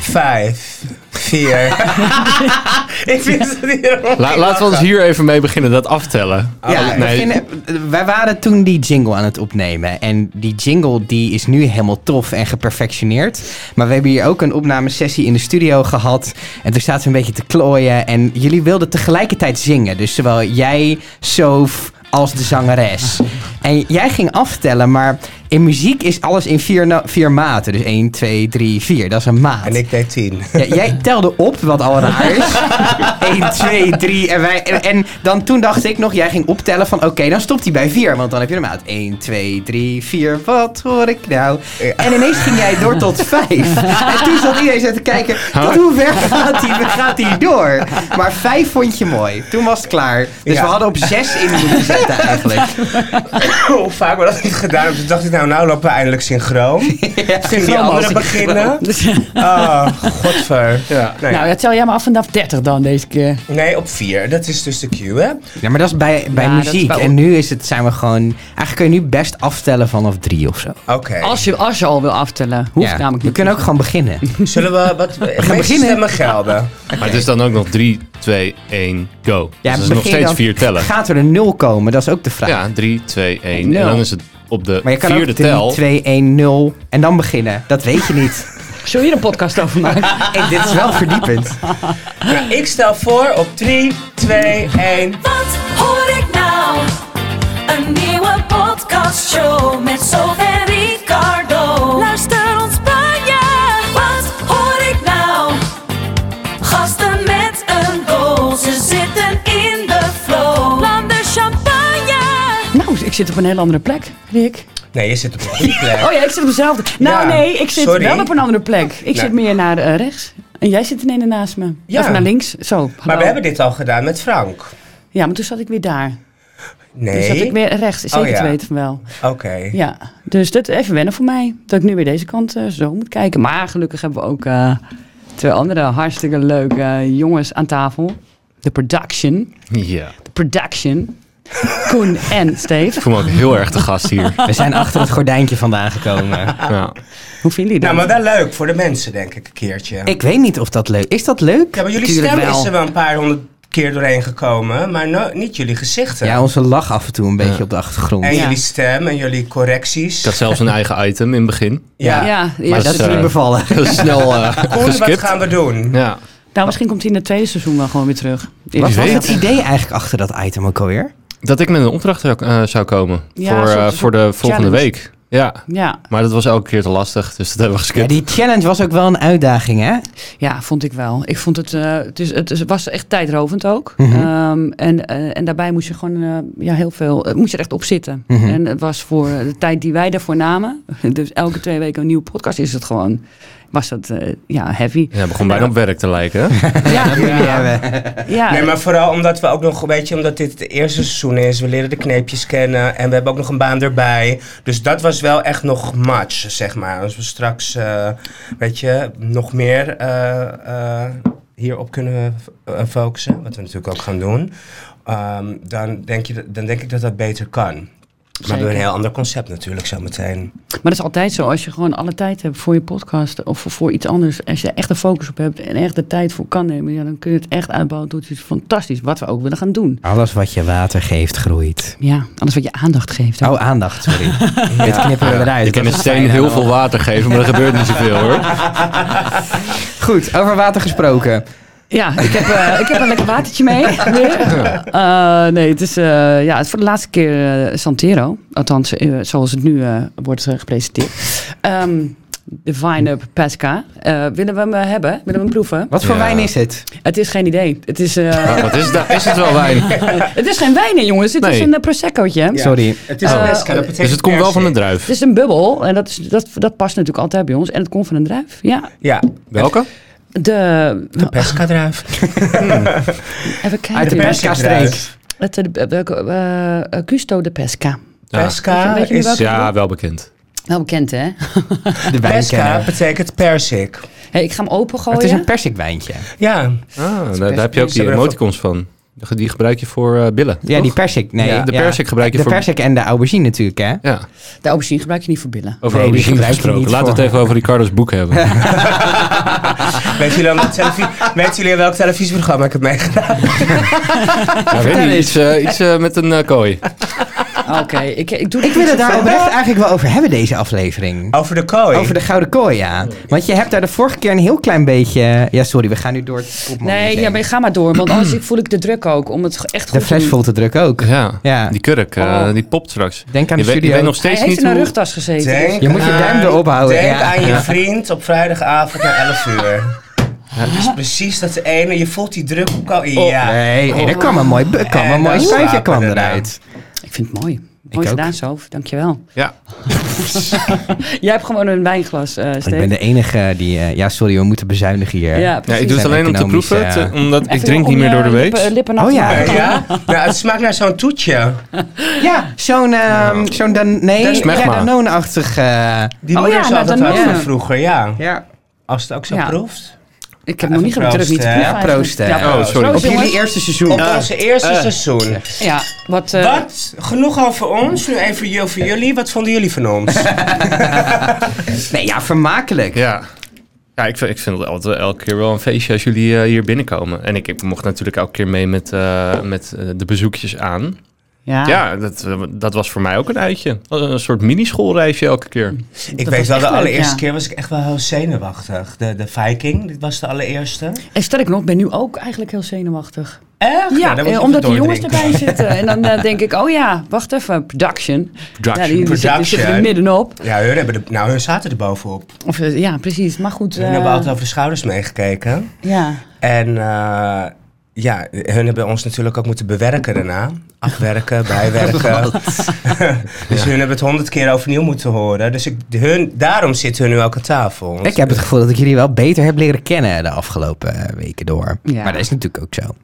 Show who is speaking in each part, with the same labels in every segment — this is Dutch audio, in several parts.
Speaker 1: Vijf. Vier. ik vind het niet erg.
Speaker 2: La- laten we ons hier even mee beginnen, dat aftellen.
Speaker 1: Ja,
Speaker 2: Oh,
Speaker 3: Ja,
Speaker 2: nee.
Speaker 3: we gingen- wij waren toen die jingle aan het opnemen. En die jingle die is nu helemaal tof en geperfectioneerd. Maar we hebben hier ook een opnamesessie in de studio gehad. En toen zaten we een beetje te klooien. En jullie wilden tegelijkertijd zingen. Dus zowel jij, Sof, als de zangeres. En jij ging aftellen, maar in muziek is alles in vier, no- vier maten. Dus 1, 2, 3, 4. Dat is een maat.
Speaker 1: En ik deed tien.
Speaker 3: Ja, jij telde op, wat al raar is. 1, 2, 3 en wij... En, en dan toen dacht ik nog, jij ging optellen van... Oké, dan stopt hij bij 4, want dan heb je de maat. 1, 2, 3, 4, wat hoor ik nou?
Speaker 1: Ja.
Speaker 3: En ineens ging jij door tot 5. En toen zat iedereen zo te kijken, tot hoe ver gaat hij gaat hij door? Maar 5 vond je mooi. Toen was het klaar. Dus
Speaker 1: Ja.
Speaker 3: we hadden op 6 in moeten zetten eigenlijk.
Speaker 1: Hoe vaak we dat niet gedaan hebben. Toen dacht ik, nou, nou lopen we eindelijk synchroon. Toen die anderen beginnen. Oh, godver.
Speaker 2: Ja.
Speaker 1: Nee.
Speaker 4: Nou, dat tel jij maar af vanaf 30 dan deze keer.
Speaker 1: nee, op vier. Dat is dus de cue, hè?
Speaker 3: Ja, maar dat is bij, bij
Speaker 4: Ja, dat is
Speaker 3: muziek.
Speaker 4: wel-
Speaker 3: En nu is het, zijn we gewoon... Eigenlijk kun je nu best aftellen vanaf 3 of zo.
Speaker 1: Oké.
Speaker 4: Als je, als je al wil aftellen. Hoeft
Speaker 3: Ja,
Speaker 4: namelijk
Speaker 3: we
Speaker 4: niet.
Speaker 3: kunnen ook gewoon beginnen.
Speaker 1: Zullen we wat... We gaan
Speaker 3: beginnen.
Speaker 1: stemmen gelden.
Speaker 2: Maar het is dan ook nog 3, 2, 1, go.
Speaker 3: Ja,
Speaker 2: dus dat is nog
Speaker 3: begin
Speaker 2: steeds
Speaker 3: dan.
Speaker 2: 4 tellen.
Speaker 3: Gaat er een 0 komen? Dat is ook de vraag.
Speaker 2: Ja, 3, 2, 1.
Speaker 4: Nul.
Speaker 2: En dan is het op de
Speaker 3: Maar je kan
Speaker 2: vierde
Speaker 3: ook 3,
Speaker 2: tel.
Speaker 3: 2, 1, 0 en dan beginnen. Dat weet je niet.
Speaker 4: Zullen we hier een podcast over maken?
Speaker 3: hey, dit is wel verdiepend.
Speaker 1: Nou, ik stel voor op 3, 2, 1.
Speaker 5: Wat hoor ik nou? Een nieuwe podcastshow met Sof en Ricardo. Luister ons Spanje. Wat hoor ik nou? Gasten met een goal, ze zitten in de flow. Blande champagne.
Speaker 4: nou, ik zit op een heel andere plek, Rick.
Speaker 1: Nee, je zit op een goede plek.
Speaker 4: Oh ja, ik zit op dezelfde. Nou
Speaker 1: Ja,
Speaker 4: nee, ik zit
Speaker 1: sorry.
Speaker 4: wel op een andere plek. Ik
Speaker 1: Nou.
Speaker 4: zit meer naar eh, rechts. En jij zit ineens naast me.
Speaker 1: Ja.
Speaker 4: Of naar links. Zo. hallo.
Speaker 1: Maar we hebben dit al gedaan met Frank.
Speaker 4: Ja, maar toen zat ik weer daar. Toen zat
Speaker 1: Nee?
Speaker 4: Dus
Speaker 1: Oh,
Speaker 4: ik weer rechts. Zeker
Speaker 1: ja.
Speaker 4: te weten van wel.
Speaker 1: Oké.
Speaker 4: Ja, dus dat even wennen voor mij. Dat ik nu weer deze kant eh, zo moet kijken. Maar gelukkig hebben we ook eh, twee andere hartstikke leuke eh, jongens aan tafel. De production.
Speaker 2: Ja,
Speaker 4: De production. Koen en
Speaker 2: ik
Speaker 4: Steve.
Speaker 2: voel me ook heel erg de gast hier.
Speaker 3: We zijn achter het gordijntje vandaan gekomen.
Speaker 2: Ja.
Speaker 4: Hoe vinden jullie dat?
Speaker 1: Nou, maar wel leuk voor de mensen, denk ik, een keertje.
Speaker 3: Ik weet niet of dat leuk is. dat leuk?
Speaker 1: Ja, maar jullie
Speaker 4: Tuurlijk
Speaker 1: stem
Speaker 4: wel.
Speaker 1: is er wel een paar honderd keer doorheen gekomen, maar no- niet jullie gezichten.
Speaker 3: Ja, onze lach af en toe een beetje op de achtergrond.
Speaker 1: en
Speaker 4: Ja.
Speaker 1: jullie stem en jullie correcties.
Speaker 2: Ik had zelfs een eigen item in het begin.
Speaker 1: ja.
Speaker 4: ja, ja,
Speaker 2: Maar
Speaker 3: dat is
Speaker 2: eh,
Speaker 3: niet bevallen.
Speaker 2: Heel snel eh
Speaker 1: Koen, wat
Speaker 2: geskipt.
Speaker 1: gaan we doen?
Speaker 2: Ja.
Speaker 4: Nou, misschien komt hij in het tweede seizoen wel gewoon weer terug.
Speaker 3: Wat was
Speaker 2: weet
Speaker 3: het
Speaker 2: het.
Speaker 3: idee eigenlijk achter dat item ook alweer?
Speaker 2: Dat ik met een opdracht zou- eh, zou komen
Speaker 4: Ja,
Speaker 2: voor,
Speaker 4: een soort-
Speaker 2: eh, voor de
Speaker 4: soort
Speaker 2: volgende
Speaker 4: challenge.
Speaker 2: week. Ja,
Speaker 4: Ja,
Speaker 2: maar dat was elke keer te lastig, dus dat hebben we
Speaker 3: Ja,
Speaker 2: geskipt.
Speaker 3: die challenge was ook wel een uitdaging, hè?
Speaker 4: ja, vond ik wel. Ik vond het, eh, het, is, het is- het was echt tijdrovend ook. Ehm, en, eh, en daarbij moest je gewoon eh, ja, heel veel, eh, moest je er echt op zitten. En het was voor de tijd die wij daarvoor namen, dus elke twee weken een nieuwe podcast, is het gewoon, was dat eh, ja, heavy.
Speaker 2: Ja, begon bijna op werk te lijken. hè?
Speaker 4: Ja,
Speaker 3: Die hebben we.
Speaker 4: ja.
Speaker 1: Nee, maar vooral omdat we ook nog, weet je, omdat dit het eerste seizoen is. We leren de kneepjes kennen en we hebben ook nog een baan erbij. Dus dat was wel echt nog match, zeg maar. Als we straks, eh, weet je, nog meer eh, eh, hierop kunnen eh, focussen, wat we natuurlijk ook gaan doen. ehm, dan, denk je, dat- dan denk ik dat dat beter kan. Maar we hebben een
Speaker 4: Zeker.
Speaker 1: heel ander concept natuurlijk zo meteen.
Speaker 4: Maar dat is altijd zo. Als je gewoon alle tijd hebt voor je podcast of voor- voor iets anders. Als je er echt de focus op hebt en echt de tijd voor kan nemen. Ja, dan kun je het echt uitbouwen tot iets fantastisch. Wat we ook willen gaan doen.
Speaker 3: Alles wat je water geeft, groeit.
Speaker 4: Ja, alles wat je aandacht geeft.
Speaker 3: Oh, aandacht, sorry. Dit knippen we eruit.
Speaker 2: Je kan een
Speaker 3: Dat is
Speaker 2: steen
Speaker 3: fijn
Speaker 2: heel
Speaker 3: aan
Speaker 2: veel water geven, maar er gebeurt niet zoveel hoor.
Speaker 3: Goed, over water gesproken.
Speaker 4: Ja, ik heb, eh, ik heb een lekker watertje mee. Weer. Eh, nee, het is eh, ja, het is voor de laatste keer eh, Santero. Althans, eh, zoals het nu eh, wordt eh, gepresenteerd. Ehm, de Vine-up Pesca. Eh, willen we hem eh, hebben? Willen we hem proeven?
Speaker 3: Wat voor
Speaker 2: Ja.
Speaker 3: wijn is het?
Speaker 4: Het is geen idee. Het is, eh,
Speaker 2: Maar wat is dat? Is het wel wijn?
Speaker 4: het is geen wijn, hè, jongens. Het is
Speaker 2: Nee.
Speaker 4: een eh, proseccootje.
Speaker 3: Sorry.
Speaker 1: Het is
Speaker 4: Eh,
Speaker 1: best, dat betekent
Speaker 2: Dus het komt wel van een
Speaker 1: persik.
Speaker 2: druif.
Speaker 4: Het is een bubbel en dat, is, dat, dat past natuurlijk altijd bij ons. En het komt van een druif, ja.
Speaker 1: Ja,
Speaker 2: Welke?
Speaker 4: De,
Speaker 1: de pescadruif.
Speaker 4: even
Speaker 3: Uit de
Speaker 4: kijken.
Speaker 3: pesca streek.
Speaker 4: Het, eh, de- welke, eh, eh, Gusto de Pesca.
Speaker 2: Ja.
Speaker 1: Pesca
Speaker 4: Weet je- weet je nu
Speaker 1: is...
Speaker 4: welke-
Speaker 2: Ja, wel bekend.
Speaker 4: Wel bekend, hè?
Speaker 3: De
Speaker 1: Pesca
Speaker 3: wijnkenner.
Speaker 1: betekent persik.
Speaker 4: Hey, ik ga hem opengooien.
Speaker 3: Het is een persikwijntje.
Speaker 1: Ja,
Speaker 2: Ah, daar, daar heb je ook die
Speaker 1: Ze hebben
Speaker 2: emoticons van. Die gebruik je voor eh, billen.
Speaker 3: Ja,
Speaker 2: toch?
Speaker 3: die persik. Nee,
Speaker 2: Ja, de persik gebruik je
Speaker 3: de
Speaker 2: voor-
Speaker 3: persik en de aubergine natuurlijk, hè?
Speaker 2: Ja,
Speaker 4: De aubergine gebruik je niet voor billen.
Speaker 2: over
Speaker 3: Nee, die
Speaker 2: aubergine
Speaker 3: gebruik je
Speaker 2: gesproken.
Speaker 3: niet
Speaker 2: Laten we het
Speaker 3: voor-
Speaker 2: even over Ricardo's boek hebben.
Speaker 1: Weet jullie, aan welk televi- weten jullie aan welk televisieprogramma ik heb meegedaan?
Speaker 2: Ja, weet niet, iets eh, iets eh, met een eh, kooi.
Speaker 4: Oké, ik, ik doe dit
Speaker 3: Ik wil het
Speaker 4: niet zo
Speaker 3: daar
Speaker 4: vaak.
Speaker 3: oprecht eigenlijk wel over hebben, deze aflevering.
Speaker 2: Oh,
Speaker 1: Over de kooi.
Speaker 3: Over de gouden kooi, ja. Want je hebt daar de vorige keer een heel klein beetje... Ja, sorry, we gaan nu door het Koopman
Speaker 4: Nee,
Speaker 3: Museum.
Speaker 4: ja, maar ga maar door, want anders ik voel ik de druk ook om het echt goed
Speaker 3: De fles
Speaker 4: te
Speaker 3: vol te druk ook.
Speaker 2: Ja,
Speaker 3: Ja.
Speaker 2: die kurk, eh,
Speaker 4: Oh.
Speaker 2: die popt straks.
Speaker 3: Denk aan
Speaker 2: je weet,
Speaker 3: de
Speaker 2: je
Speaker 3: studio.
Speaker 2: weet nog
Speaker 4: doen.
Speaker 2: steeds
Speaker 4: Hij heeft
Speaker 2: niet
Speaker 4: in een
Speaker 2: hoe...
Speaker 4: rugtas gezeten.
Speaker 1: Denk
Speaker 3: Je moet je
Speaker 1: aan-
Speaker 3: duim erop houden,
Speaker 1: Denk
Speaker 3: ja.
Speaker 1: aan je
Speaker 3: Ja.
Speaker 1: vrijdagavond op vrijdagavond na 11 uur. Het is precies dat ene. Je voelt die druk op kooi. Ja.
Speaker 3: Oh, Nee, nee, er kwam een mooi, er kwam
Speaker 1: En
Speaker 3: een mooi
Speaker 1: dan
Speaker 3: spuitje
Speaker 1: slapen
Speaker 3: kwam
Speaker 1: daarna.
Speaker 3: eruit.
Speaker 4: Ik vind het mooi.
Speaker 3: ook.
Speaker 4: Mooi gedaan, Sof. Dankjewel.
Speaker 2: Ja,
Speaker 4: Jij hebt gewoon een wijnglas, eh Steve.
Speaker 3: Ik ben de enige die... eh, ja, sorry, we moeten bezuinigen hier.
Speaker 4: Ja,
Speaker 2: ja
Speaker 4: precies.
Speaker 2: ik doe het
Speaker 3: Zijn
Speaker 2: alleen om te
Speaker 3: economisch,
Speaker 2: proeven,
Speaker 3: eh,
Speaker 2: te- omdat ik
Speaker 4: Even
Speaker 2: drink
Speaker 4: om
Speaker 2: niet meer
Speaker 4: je
Speaker 2: door de
Speaker 4: Lippen,
Speaker 2: week.
Speaker 4: lippen nat
Speaker 3: Oh
Speaker 4: te
Speaker 3: ja.
Speaker 4: maken.
Speaker 1: Eh, ja? Nou, het smaakt naar zo'n toetje.
Speaker 3: Ja, zo'n... ehm zo'n dan,
Speaker 1: Dat is
Speaker 3: nee,
Speaker 2: smegma.
Speaker 3: ja, Danone-achtig... eh,
Speaker 1: Die
Speaker 4: Oh
Speaker 1: moeder
Speaker 4: ja,
Speaker 1: zou
Speaker 4: nou,
Speaker 1: dat
Speaker 4: dan-
Speaker 1: had
Speaker 4: ja.
Speaker 1: van vroeger, ja.
Speaker 3: ja.
Speaker 1: Als het ook zo
Speaker 4: Ja.
Speaker 1: proeft.
Speaker 4: Ik heb nog niet
Speaker 1: Even
Speaker 4: gedrukt, niet
Speaker 1: proosten,
Speaker 4: te
Speaker 1: hè?
Speaker 4: proeven.
Speaker 3: Proosten.
Speaker 4: Ja,
Speaker 2: Oh, sorry.
Speaker 3: Op
Speaker 4: Proost,
Speaker 3: jullie
Speaker 4: jongens.
Speaker 3: eerste seizoen.
Speaker 1: Op onze eerste seizoen.
Speaker 4: Ja, wat... eh,
Speaker 1: Wat? Genoeg al voor ons. Nu even ju- voor jullie. Wat vonden jullie van ons?
Speaker 3: Nee, ja, vermakelijk.
Speaker 2: Ja. Ja, ik vind, ik vind het altijd elke keer wel een feestje als jullie eh, hier binnenkomen. En ik, ik mocht natuurlijk elke keer mee met, eh, met eh, de bezoekjes aan.
Speaker 4: Ja.
Speaker 2: Ja, dat, eh, dat was voor mij ook een uitje. Als Een soort mini-schoolreisje elke keer.
Speaker 1: ik weet
Speaker 4: was
Speaker 1: wel,
Speaker 4: echt
Speaker 1: de
Speaker 4: leuk,
Speaker 1: allereerste
Speaker 4: ja.
Speaker 1: keer was ik echt wel heel zenuwachtig. De, de Viking, dit was de allereerste.
Speaker 4: En sterk nog, ik ben nu ook eigenlijk heel zenuwachtig.
Speaker 1: Echt? Nou,
Speaker 4: Ja,
Speaker 1: dan moet
Speaker 4: eh,
Speaker 1: je
Speaker 4: omdat
Speaker 1: even
Speaker 4: de jongens
Speaker 1: doordrinken.
Speaker 4: erbij zitten. En dan eh, denk ik, oh ja, wacht even, production. Ja, die, die zitten- die zitten er
Speaker 1: Production.
Speaker 4: middenop.
Speaker 1: Ja, hun, hebben de, nou, hun zaten er bovenop.
Speaker 4: Of, eh, ja, precies. Maar goed.
Speaker 1: Hun
Speaker 4: eh,
Speaker 1: hebben altijd over de schouders meegekeken.
Speaker 4: ja.
Speaker 1: En eh, ja, hun hebben ons natuurlijk ook moeten bewerken daarna. Afwerken, bijwerken. dus hun hebben het honderd keer overnieuw moeten horen. Dus ik, hun, daarom zitten hun nu ook aan tafel. Want-
Speaker 3: Ik heb het gevoel dat ik jullie wel beter heb leren kennen de afgelopen eh, weken door.
Speaker 4: Ja.
Speaker 3: Maar dat is natuurlijk ook zo.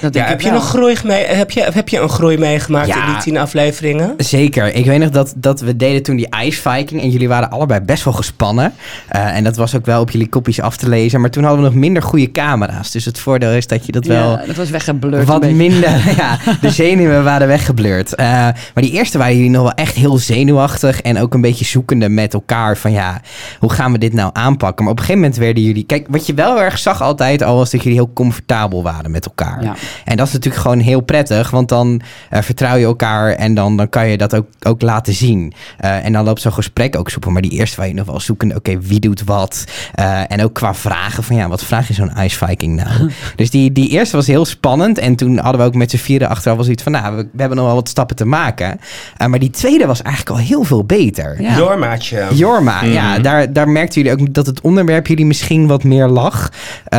Speaker 4: Dat denk
Speaker 1: ja,
Speaker 4: ik
Speaker 1: heb, je
Speaker 4: wel.
Speaker 1: nog groei mee, heb, je, heb je een groei meegemaakt
Speaker 3: Ja.
Speaker 1: in die tien afleveringen?
Speaker 3: Zeker. Ik weet nog dat, dat we deden toen die Ice Viking. En jullie waren allebei best wel gespannen. Eh, en dat was ook wel op jullie kopjes af te lezen. Maar toen hadden we nog minder goede camera's. Dus het voordeel is dat je dat wel
Speaker 4: Ja, dat was weggeblurred.
Speaker 3: Wat
Speaker 4: een beetje.
Speaker 3: minder, ja. De zenuwen waren weggeblurred. Eh, maar die eerste waren jullie nog wel echt heel zenuwachtig en ook een beetje zoekende met elkaar van ja, hoe gaan we dit nou aanpakken? Maar op een gegeven moment werden jullie, kijk, wat je wel erg zag altijd al was dat jullie heel comfortabel waren met elkaar.
Speaker 4: Ja.
Speaker 3: En dat is natuurlijk gewoon heel prettig, want dan eh, vertrouw je elkaar en dan, dan kan je dat ook, ook laten zien. Eh, en dan loopt zo'n gesprek ook soepel. Maar die eerste waar je nog wel zoeken, oké, wie doet wat? Eh, en ook qua vragen van ja, wat vraag je zo'n Ice Viking nou? dus die, die eerste was heel spannend. En toen hadden we ook met z'n vieren achteraf wel zoiets van, nou, we, we hebben nog wel wat stappen te maken. Eh, maar die tweede was eigenlijk al heel veel beter.
Speaker 4: Ja.
Speaker 1: Doormaatje.
Speaker 3: Jorma, ja, daar, daar merkten jullie ook dat het onderwerp jullie misschien wat meer lag. Eh,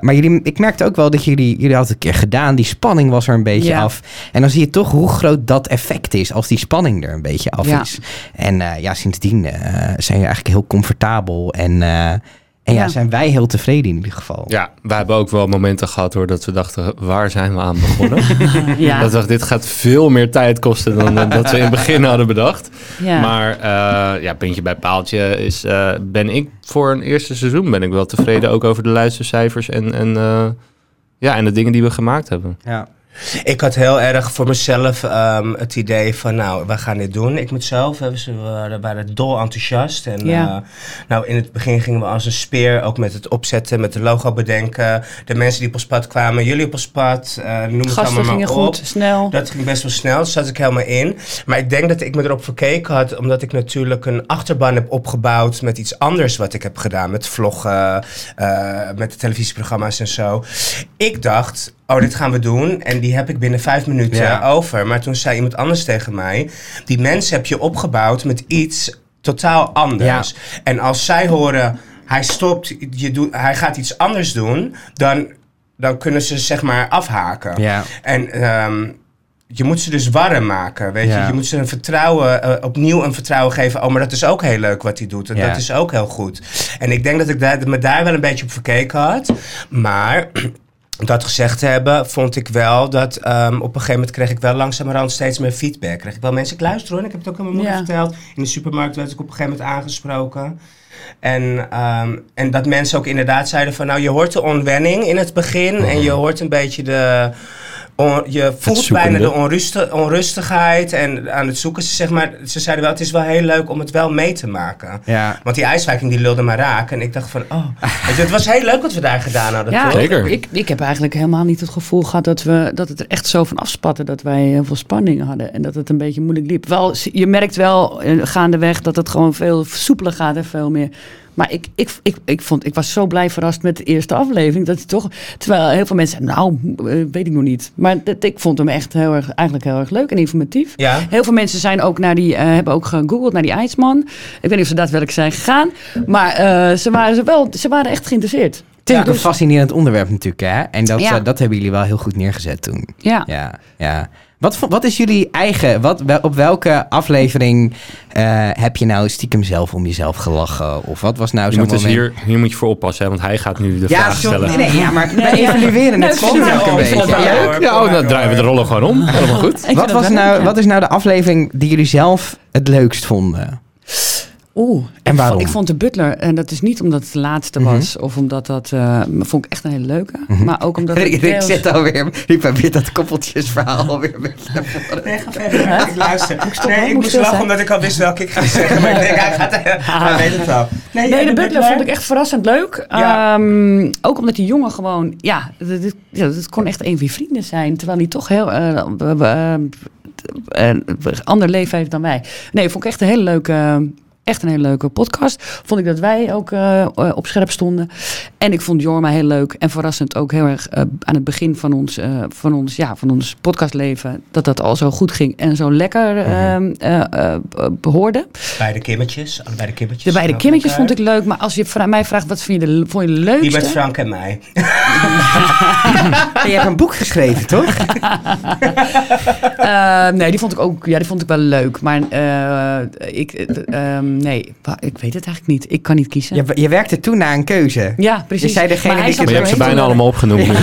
Speaker 3: maar jullie, ik merkte ook wel dat jullie, jullie hadden het een keer gedaan. Die spanning was er een beetje
Speaker 4: Ja.
Speaker 3: af. En dan zie je toch hoe groot dat effect is als die spanning er een beetje af
Speaker 4: Ja.
Speaker 3: is. En eh, ja, sindsdien eh, zijn jullie eigenlijk heel comfortabel. En, eh, en ja,
Speaker 4: Ja.
Speaker 3: zijn wij heel tevreden in ieder geval.
Speaker 2: Ja, we hebben ook wel momenten gehad hoor, dat we dachten, waar zijn we aan begonnen?
Speaker 4: Ja.
Speaker 2: Dat we dachten, dit gaat veel meer tijd kosten dan eh, dat we in het begin hadden bedacht.
Speaker 4: ja.
Speaker 2: Maar eh, ja, puntje bij paaltje is, eh, ben ik voor een eerste seizoen ben ik wel tevreden ook over de luistercijfers en, en, eh, ja, en de dingen die we gemaakt hebben.
Speaker 3: Ja.
Speaker 1: Ik had heel erg voor mezelf ehm, het idee van, nou, we gaan dit doen. Ik moet zelf, hè, we waren, waren dol enthousiast. En
Speaker 4: Ja.
Speaker 1: eh, nou, in het begin gingen we als een speer ook met het opzetten, met de logo bedenken. De mensen die op ons pad kwamen, jullie op ons pad, eh, noem het allemaal
Speaker 4: Gasten
Speaker 1: maar
Speaker 4: gingen
Speaker 1: op.
Speaker 4: goed, snel.
Speaker 1: Dat ging best wel snel, daar zat ik helemaal in. Maar ik denk dat ik me erop verkeken had, omdat ik natuurlijk een achterban heb opgebouwd met iets anders wat ik heb gedaan. Met vloggen, eh, met de televisieprogramma's en zo. Ik dacht, oh, dit gaan we doen. En die heb ik binnen vijf minuten
Speaker 2: Ja.
Speaker 1: over. Maar toen zei iemand anders tegen mij, die mensen heb je opgebouwd met iets totaal anders. En als zij horen, hij stopt, je doet, hij gaat iets anders doen, dan, dan kunnen ze zeg maar afhaken.
Speaker 3: Ja.
Speaker 1: En ehm, je moet ze dus warm maken, weet
Speaker 3: Ja.
Speaker 1: je. Je moet ze een vertrouwen, eh, opnieuw een vertrouwen geven. Oh, maar dat is ook heel leuk wat hij doet. En
Speaker 3: Ja.
Speaker 1: dat is ook heel goed. En ik denk dat ik daar, me daar wel een beetje op verkeken had. Maar... Dat gezegd te hebben, vond ik wel dat ehm, op een gegeven moment kreeg ik wel langzamerhand steeds meer feedback. Kreeg ik wel mensen, ik luister hoor, en ik heb het ook aan mijn moeder
Speaker 4: Ja.
Speaker 1: verteld. In de supermarkt werd ik op een gegeven moment aangesproken. En, ehm, en dat mensen ook inderdaad zeiden van, nou je hoort de onwenning in het begin en je hoort een beetje de, on- je voelt
Speaker 2: zoekende.
Speaker 1: bijna de onruste- onrustigheid en aan het zoeken. Ze, zeg maar, ze zeiden wel, het is wel heel leuk om het wel mee te maken.
Speaker 3: Ja.
Speaker 1: Want die ijswijking die lulde maar raak. En ik dacht van, oh. Weet je, het was heel leuk wat we daar gedaan hadden.
Speaker 4: Ja,
Speaker 1: toch?
Speaker 2: Zeker.
Speaker 4: Ik, ik heb eigenlijk helemaal niet het gevoel gehad dat, we, dat het er echt zo van afspatte. Dat wij heel veel spanning hadden en dat het een beetje moeilijk liep. Wel, je merkt wel eh, gaandeweg dat het gewoon veel soepeler gaat en veel meer. Maar ik, ik, ik, ik, vond, ik was zo blij verrast met de eerste aflevering. Dat het toch, terwijl heel veel mensen zeiden, nou, eh, weet ik nog niet. Maar dat, ik vond hem echt heel erg, eigenlijk heel erg leuk en informatief.
Speaker 1: Ja.
Speaker 4: Heel veel mensen zijn ook naar die, eh, hebben ook gegoogeld naar die ijsman. Ik weet niet of ze daadwerkelijk zijn gegaan. Maar eh, ze, waren ze, wel, ze waren echt geïnteresseerd.
Speaker 3: Het is
Speaker 1: Ja.
Speaker 3: ook een fascinerend onderwerp natuurlijk, hè? En dat,
Speaker 4: dus- Ja.
Speaker 3: eh, dat hebben jullie wel heel goed neergezet toen.
Speaker 4: Ja.
Speaker 3: Ja, ja. Wat, vo- wat is jullie eigen... Wat, wel- op welke aflevering eh, heb je nou stiekem zelf om jezelf gelachen? Of wat was nou
Speaker 2: Je
Speaker 3: zo'n
Speaker 2: moet dus
Speaker 3: moment?
Speaker 2: hier, hier moet je voor oppassen, hè, want hij gaat nu de
Speaker 3: Ja,
Speaker 2: vraag
Speaker 3: sorry,
Speaker 2: stellen.
Speaker 3: nee, nee, ja, maar we evalueren het
Speaker 1: kom
Speaker 3: soms
Speaker 1: maar
Speaker 3: ook een
Speaker 1: op, kom
Speaker 3: beetje.
Speaker 1: maar
Speaker 3: Ja.
Speaker 1: op.
Speaker 2: Ja, oh, dan draaien we de rollen gewoon om. Helemaal goed.
Speaker 4: Ik vind
Speaker 3: Wat,
Speaker 4: dat
Speaker 3: was
Speaker 4: wel leuk,
Speaker 3: nou,
Speaker 4: ja.
Speaker 3: wat is nou de aflevering die jullie zelf het leukst vonden?
Speaker 4: Oeh,
Speaker 3: En
Speaker 4: ik
Speaker 3: waarom? Mhm.
Speaker 4: vond- Ik vond de Butler, en dat is niet omdat het de laatste was, of omdat dat, eh, maar vond ik echt een hele leuke. Maar ook omdat
Speaker 3: Rick,
Speaker 4: het
Speaker 3: Rick
Speaker 4: deels-
Speaker 3: Mhm. zit alweer, Rick probeert dat koppeltjesverhaal alweer een beetje naar voren.
Speaker 1: Nee, ga verder. Ik luister.
Speaker 4: hè?
Speaker 1: nee,
Speaker 4: Ik
Speaker 1: ik
Speaker 4: moet
Speaker 1: moest
Speaker 4: stil
Speaker 1: lachen
Speaker 4: zijn.
Speaker 1: omdat ik al wist welke ik ga zeggen. Maar ik denk, hij gaat... Hij weet het wel.
Speaker 4: Nee,
Speaker 1: en
Speaker 4: de Butler vond ik echt verrassend leuk.
Speaker 1: Ja.
Speaker 4: Ehm, ook omdat die jongen gewoon, ja, dit, dit- ja, dit kon echt een van je vrienden zijn. Terwijl hij toch heel eh, we- we- eh, een ander leven heeft dan wij. Nee, vond ik echt een hele leuke, echt een hele leuke podcast. Vond ik dat wij ook eh, eh, op scherp stonden. En ik vond Jorma heel leuk en verrassend ook heel erg eh, aan het begin van ons, eh, van ons, ja, van ons podcastleven dat dat al zo goed ging en zo lekker ehm, eh, eh, behoorde.
Speaker 1: Beide kimmetjes. Allebei de kimmetjes.
Speaker 4: De beide
Speaker 1: Ook
Speaker 4: kimmetjes
Speaker 1: elkaar.
Speaker 4: vond ik leuk, maar als je vra- mij vraagt wat vind je de, vond je de
Speaker 1: eh, Die met
Speaker 4: leukste?
Speaker 1: Frank en mij.
Speaker 3: Je hebt een boek geschreven, toch?
Speaker 4: Eh, nee, die vond ik ook, ja, die vond ik wel leuk, maar eh, ik, eh, ehm, nee, wa- ik weet het eigenlijk niet. Ik kan niet kiezen. Ja,
Speaker 3: Je, je werkte toen naar een keuze.
Speaker 4: precies.
Speaker 3: Je zei degene
Speaker 4: hij
Speaker 3: die
Speaker 4: zat
Speaker 3: ik
Speaker 2: Maar je hebt ze
Speaker 4: doorheen
Speaker 2: bijna
Speaker 4: te
Speaker 2: allemaal opgenoemd nu.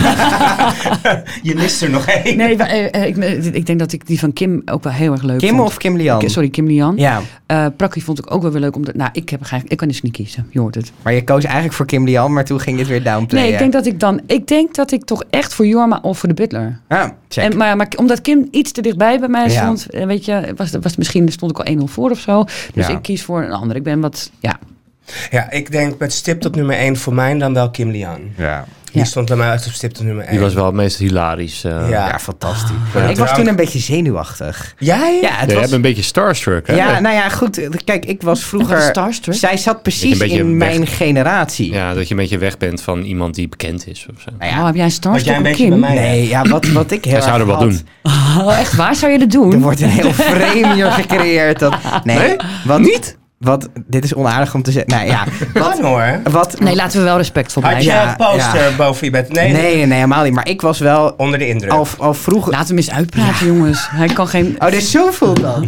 Speaker 1: Je mist er nog één.
Speaker 4: Nee, wa- eh, eh, ik, eh, ik denk dat ik die van Kim ook wel heel erg leuk
Speaker 3: Kim
Speaker 4: vond.
Speaker 3: of Kim Lian?
Speaker 4: Ki- Sorry, Kim Lian.
Speaker 3: Ja,
Speaker 4: Eh, Prakkie vond ik ook wel weer leuk, omdat, nou, ik, heb eigenlijk, ik kan dus niet kiezen, je hoort het.
Speaker 3: maar je koos eigenlijk voor Kim Lian, maar toen ging je het weer downplayen.
Speaker 4: Nee, ik denk dat ik dan, ik denk dat ik toch echt voor Jorma of voor de Butler.
Speaker 3: Ah, check.
Speaker 4: En, maar, maar omdat Kim iets te dichtbij bij mij
Speaker 3: Ja.
Speaker 4: stond, eh, weet je, was, was misschien stond ik al 1-0 voor of zo. Dus
Speaker 3: Ja.
Speaker 4: ik kies voor een ander. Ik ben wat, ja.
Speaker 1: Ja, ik denk met stip tot nummer 1 voor mij dan wel Kim Lian.
Speaker 3: ja.
Speaker 1: Die
Speaker 4: Ja.
Speaker 1: stond bij mij echt op stip tot nummer 1.
Speaker 2: Die was wel het meest hilarisch. eh.
Speaker 1: Ja.
Speaker 3: Ja, fantastisch.
Speaker 1: Ja.
Speaker 3: ik was toen een beetje zenuwachtig.
Speaker 1: Jij?
Speaker 3: Ja, het
Speaker 2: Ja, jij
Speaker 3: was...
Speaker 2: bent een beetje starstruck, hè?
Speaker 3: Ja, nou ja, goed. Kijk, ik was
Speaker 4: Wat is
Speaker 3: vroeger...
Speaker 4: Starstruck?
Speaker 3: Zij zat
Speaker 2: een
Speaker 3: precies
Speaker 2: beetje
Speaker 3: in
Speaker 2: weg-
Speaker 3: mijn generatie.
Speaker 2: Ja, dat je een beetje weg bent van iemand die bekend is of zo.
Speaker 3: Nou ja.
Speaker 4: Oh, heb jij
Speaker 1: Wat jij
Speaker 4: een starstruck
Speaker 1: een
Speaker 4: op
Speaker 1: beetje
Speaker 4: Kim?
Speaker 1: bij mij hebt.
Speaker 3: Nee, ja, wat, wat ik heel
Speaker 2: Hij zou
Speaker 3: erg
Speaker 2: er wat
Speaker 3: had-
Speaker 2: doen.
Speaker 4: Oh, echt waar zou je dat doen?
Speaker 3: Er wordt een heel vreemder gecreëerd. Dat, nee, wat, niet? Wat, dit is onaardig om te zeggen. Nou ja,
Speaker 1: Kan
Speaker 3: wat...
Speaker 1: hoor.
Speaker 3: wat
Speaker 4: Nee, laten we wel respectvol
Speaker 1: Had
Speaker 4: blijven.
Speaker 1: jij
Speaker 3: Ja,
Speaker 1: een poster boven je bed? Nee,
Speaker 3: nee, nee, nee, helemaal niet. Maar ik was wel
Speaker 1: Onder de indruk.
Speaker 3: al, al vroeg...
Speaker 4: Laten we hem eens uitpraten, jongens. Hij kan geen...
Speaker 3: Oh, dus zo voelt dat.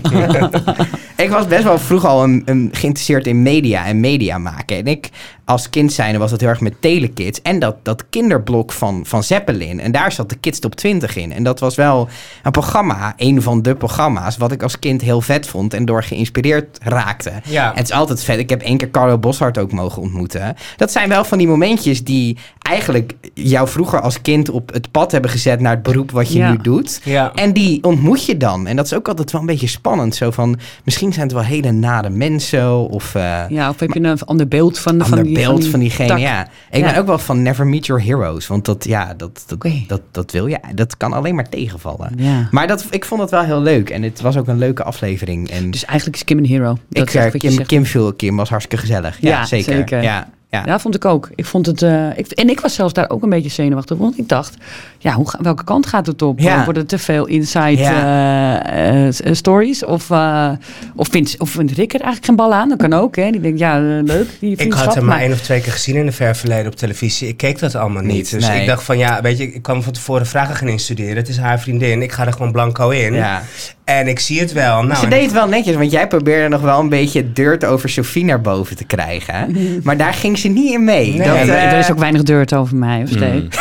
Speaker 3: ik was best wel vroeg al een, een geïnteresseerd in media en media maken. En ik, als kind zijnde, was dat heel erg met telekids. En dat, dat kinderblok van, van Zeppelin. En daar zat de Kids Top 20 in. En dat was wel een programma, een van de programma's... wat ik als kind heel vet vond en door geïnspireerd raakte.
Speaker 1: Ja.
Speaker 3: Het is altijd vet. Ik heb één keer Carlo Boshart ook mogen ontmoeten. Dat zijn wel van die momentjes die eigenlijk jou vroeger als kind op het pad hebben gezet... naar het beroep wat je
Speaker 4: Ja.
Speaker 3: nu doet.
Speaker 1: Ja.
Speaker 3: En die ontmoet je dan. En dat is ook altijd wel een beetje spannend. Zo van, misschien zijn het wel hele nare mensen. Of eh
Speaker 4: Ja, of heb je een ander beeld van,
Speaker 3: ander
Speaker 4: van die...
Speaker 3: beeld van, diegene.
Speaker 4: tak?
Speaker 3: Ja. Ik
Speaker 4: Ja.
Speaker 3: ben ook wel van never meet your heroes. Want dat, ja, dat, dat,
Speaker 4: Oké.
Speaker 3: dat, dat wil je. Dat kan alleen maar tegenvallen.
Speaker 4: Ja.
Speaker 3: Maar dat, ik vond het wel heel leuk. En het was ook een leuke aflevering. En
Speaker 4: Dus eigenlijk is Kim een hero. Dat
Speaker 3: ik
Speaker 4: is echt
Speaker 3: eh,
Speaker 4: wat je
Speaker 3: Kim,
Speaker 4: zegt.
Speaker 3: Kim, viel, Kim was hartstikke gezellig. Ja,
Speaker 4: Ja,
Speaker 3: zeker.
Speaker 4: zeker.
Speaker 3: Ja, ja.
Speaker 4: Ja, vond ik ook. Ik vond het, eh, ik, en ik was zelfs daar ook een beetje zenuwachtig. Want ik dacht, ja, hoe, ga- welke kant gaat het op?
Speaker 3: Ja.
Speaker 4: Worden er te veel inside
Speaker 3: Ja.
Speaker 4: eh, eh, s- eh, stories? Of, eh, of, vindt, of vindt Rick er eigenlijk geen bal aan? Dat kan ook, hè? Die denkt, ja, eh, leuk, die
Speaker 1: Ik
Speaker 4: vriendschap.
Speaker 1: had hem maar één of twee keer gezien in de ver verleden op televisie. Ik keek dat allemaal niet.
Speaker 3: Niet,
Speaker 1: dus
Speaker 3: nee.
Speaker 1: ik dacht van ja, weet je, ik kwam van tevoren vragen gaan instuderen. Het is haar vriendin. Ik ga er gewoon blanco in.
Speaker 3: Ja.
Speaker 1: En ik zie het wel. Nou,
Speaker 3: Ze deed het wel netjes, want jij probeerde nog wel een beetje dirt over Sophie naar boven te krijgen. Maar daar ging ze niet in mee.
Speaker 1: Nee,
Speaker 3: dat,
Speaker 1: maar
Speaker 4: Ja, maar
Speaker 3: eh,
Speaker 4: er is ook weinig dirt over mij, of steek.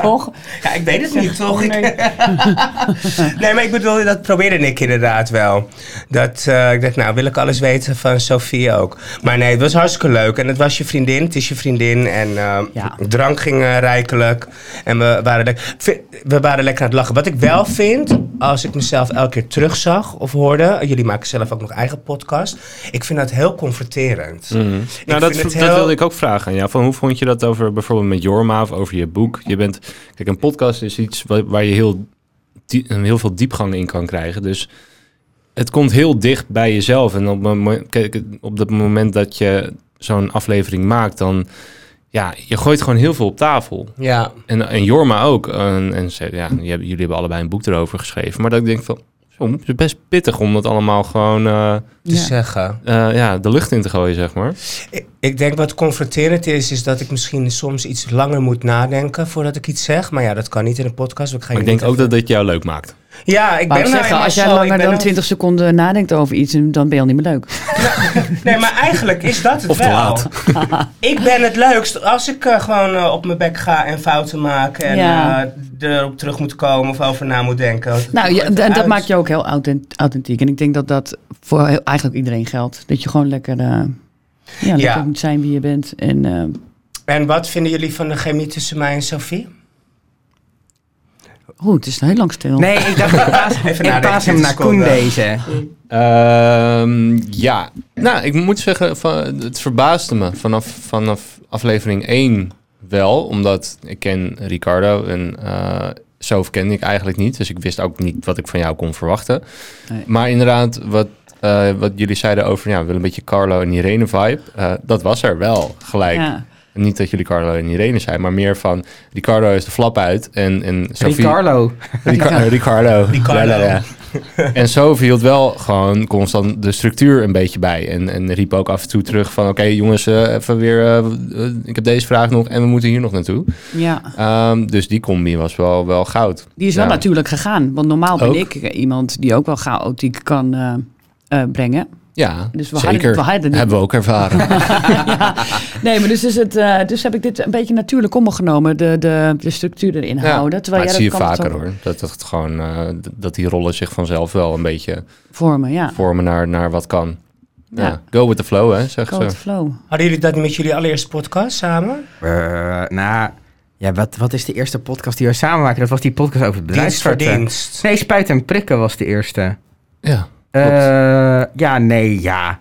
Speaker 4: Toch?
Speaker 1: Ja, ik weet het niet, toch? Ik- nee, maar ik bedoel, dat probeerde ik inderdaad wel. Dat, eh, ik dacht, nou, wil ik alles weten van Sofie ook. Maar nee, het was hartstikke leuk. En het was je vriendin, het is je vriendin. En eh,
Speaker 4: Ja.
Speaker 1: drank ging eh, rijkelijk. En we waren, lek- vi- we waren lekker aan het lachen. Wat ik wel vind, als ik mezelf elke keer terugzag of hoorde... Jullie maken zelf ook nog eigen podcast. Ik vind dat heel confronterend. Mm. Ik
Speaker 2: Nou, dat,
Speaker 1: vind het
Speaker 2: dat
Speaker 1: heel-
Speaker 2: wilde ik ook vragen. Ja, van hoe vond je dat over bijvoorbeeld met Jorma of over je boek? Je bent, kijk, een podcast is iets wa- waar, je heel, die- een heel veel diepgang in kan krijgen. Dus het komt heel dicht bij jezelf. En op, het mo- kijk, op het moment dat je zo'n aflevering maakt, dan ja, je gooit gewoon heel veel op tafel.
Speaker 1: Ja,
Speaker 2: En, en Jorma ook. En, en ze, ja, die hebben- jullie hebben allebei een boek erover geschreven. Maar dat ik denk van, zo, het is best pittig om dat allemaal gewoon eh,
Speaker 1: te zeggen.
Speaker 2: eh, ja, de lucht in te gooien, zeg maar.
Speaker 1: Ik- Ik denk wat confronterend is, is dat ik misschien soms iets langer moet nadenken voordat ik iets zeg. Maar ja, dat kan niet in een podcast. want Ik, ga
Speaker 2: Maar ik
Speaker 1: je
Speaker 2: denk
Speaker 1: niet
Speaker 2: ook dat dit jou leuk maakt.
Speaker 1: even- Ja, ik
Speaker 4: Maar
Speaker 1: ben
Speaker 4: ik
Speaker 1: nou
Speaker 4: zeggen,
Speaker 1: eenmaal
Speaker 4: als jij
Speaker 1: zo, ik
Speaker 4: langer
Speaker 1: ben
Speaker 4: dan
Speaker 1: nou-
Speaker 4: 20 seconden nadenkt over iets, dan ben je al niet meer leuk.
Speaker 1: Nee, maar eigenlijk is dat het
Speaker 2: Of te
Speaker 1: wel.
Speaker 2: laat.
Speaker 1: ik ben het leukst als ik eh, gewoon eh, op mijn bek ga en fouten maak. En
Speaker 4: Ja.
Speaker 1: eh, erop terug moet komen of over na moet denken. Want het
Speaker 4: Nou, ja,
Speaker 1: maakt
Speaker 4: en dat
Speaker 1: uit.
Speaker 4: maakt je ook heel authent- authentiek. En ik denk dat dat voor heel- eigenlijk iedereen geldt. Dat je gewoon lekker, eh, ja, lekker
Speaker 1: Ja.
Speaker 4: moet zijn wie je bent. En eh,
Speaker 1: En wat vinden jullie van de chemie tussen mij en Sophie?
Speaker 4: oh, het is heel lang stil.
Speaker 3: Nee, ik dacht, ik paas,
Speaker 1: Even
Speaker 3: ik
Speaker 1: nadenken,
Speaker 3: paas hem
Speaker 1: 20
Speaker 3: naar Koen
Speaker 1: seconden.
Speaker 3: deze.
Speaker 2: Ehm, ja, nou, ik moet zeggen, van, het verbaasde me vanaf, vanaf aflevering 1 wel. Omdat ik ken Ricardo en eh Sof kende ik eigenlijk niet. Dus ik wist ook niet wat ik van jou kon verwachten.
Speaker 4: Nee.
Speaker 2: Maar inderdaad, wat, eh, wat jullie zeiden over, ja, we willen een beetje Carlo en Irene vibe. eh, dat was er wel gelijk.
Speaker 4: Ja.
Speaker 2: Niet dat jullie Carlo en Irene zijn, maar meer van Ricardo is de flap uit en, en Sophie...
Speaker 3: Ricardo.
Speaker 2: Rica- eh, Ricardo.
Speaker 1: Ricardo.
Speaker 2: En Sophie hield wel gewoon constant de structuur een beetje bij. En, en riep ook af en toe terug van... Oké jongens, eh, even weer... eh, w- eh, ik heb deze vraag nog en we moeten hier nog naartoe.
Speaker 4: Ja,
Speaker 2: Ehm, dus die combi was wel, wel goud.
Speaker 4: die is wel
Speaker 2: Ja.
Speaker 4: natuurlijk gegaan. Want normaal ben
Speaker 2: Ook.
Speaker 4: ik eh, iemand die ook wel chaotiek kan eh, eh, brengen.
Speaker 2: Ja,
Speaker 4: Dus we hadden-
Speaker 2: zeker.
Speaker 4: we hadden dit-
Speaker 2: Hebben we ook ervaren.
Speaker 4: Nee, maar dus, is het, eh, dus heb ik dit een beetje natuurlijk om me genomen. De, de, de structuur erin houden.
Speaker 2: maar
Speaker 4: Terwijl
Speaker 2: dat
Speaker 4: jij
Speaker 2: zie je
Speaker 4: Nou, dat kan
Speaker 2: vaker
Speaker 4: zo
Speaker 2: hoor. Dat, dat, het gewoon, eh, d- dat die rollen zich vanzelf wel een beetje
Speaker 4: Vormen, ja.
Speaker 2: vormen naar, naar wat kan. Ja.
Speaker 4: Ja.
Speaker 2: Go with the flow hè, zegt
Speaker 4: Code
Speaker 2: ze.
Speaker 4: flow.
Speaker 1: Hadden jullie dat met jullie allereerste podcast samen?
Speaker 3: Eh, nou, ja, wat, wat is de eerste podcast die we samen maken? Dat was die podcast
Speaker 1: Dienst
Speaker 3: over
Speaker 1: voor
Speaker 3: bedrijfsartsen.
Speaker 1: dienst.
Speaker 3: Nee, Spuiten en Prikken was de eerste.
Speaker 2: Ja,
Speaker 3: Eh, ja, nee, ja.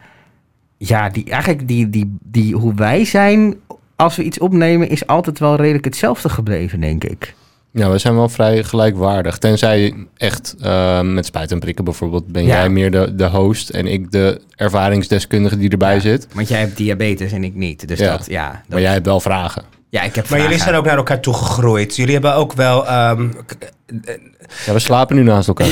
Speaker 3: Ja, die, eigenlijk die, die, die, hoe wij zijn als we iets opnemen is altijd wel redelijk hetzelfde gebleven, denk ik.
Speaker 2: Ja, we zijn wel vrij gelijkwaardig. Tenzij echt eh, met spuit en prikken bijvoorbeeld ben
Speaker 3: Ja.
Speaker 2: jij meer de, de host en ik de ervaringsdeskundige die erbij zit.
Speaker 3: Want jij hebt diabetes en ik niet. Dus
Speaker 2: Ja.
Speaker 3: dat, ja.
Speaker 2: Maar
Speaker 3: Dat,
Speaker 2: jij hebt wel vragen.
Speaker 3: ja, ik heb
Speaker 1: Maar jullie zijn ook naar elkaar toe gegroeid. Jullie hebben ook wel ehm, k-
Speaker 2: Ja, we slapen nu naast elkaar.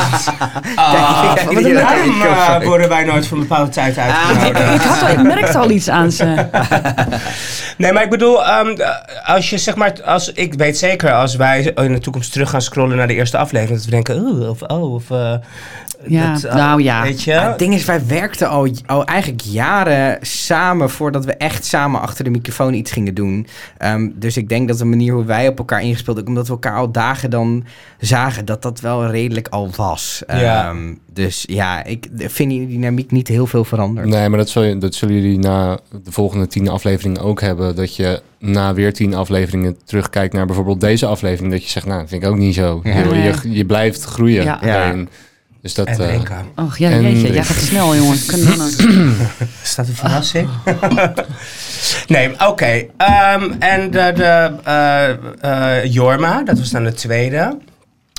Speaker 3: Ah,
Speaker 1: Wat een arm worden wij nooit van bepaalde tijd uitgenodigd.
Speaker 4: Ik, had al, ik merkte al iets aan ze.
Speaker 1: Nee, maar ik bedoel, ehm, eh, als je zeg maar, als, ik weet zeker als wij in de toekomst terug gaan scrollen naar de eerste aflevering, dat we denken, oeh, of oh, of. eh,
Speaker 4: Ja,
Speaker 1: dat, eh,
Speaker 4: nou ja.
Speaker 1: Weet je?
Speaker 3: Ja, het ding is, wij werkten al, al eigenlijk jaren samen voordat we echt samen achter de microfoon iets gingen doen. Ehm, dus ik denk dat de manier hoe wij op elkaar ingespeeld, ook omdat we elkaar al dagen dan zagen, dat dat wel redelijk al was.
Speaker 1: Ja.
Speaker 3: Ehm, Dus ja, ik vind die dynamiek niet heel veel veranderd.
Speaker 2: Nee, maar dat, zul je, dat zullen jullie na de volgende tien afleveringen ook hebben. Dat je na weer tien afleveringen terugkijkt naar bijvoorbeeld deze aflevering. Dat je zegt, nou, dat vind ik ook niet zo.
Speaker 3: Ja.
Speaker 2: Je, je, je blijft groeien.
Speaker 4: Ja.
Speaker 3: Ja.
Speaker 2: En, dus dat,
Speaker 1: En
Speaker 2: eh,
Speaker 1: drinken.
Speaker 4: Och, ja,
Speaker 2: En
Speaker 4: jeetje, jij
Speaker 2: drinken.
Speaker 4: gaat snel, jongen. Kan dan ook.
Speaker 1: Is dat een verrassing? nee, oké. ehm, en de, de eh, eh, Jorma, dat was dan de tweede.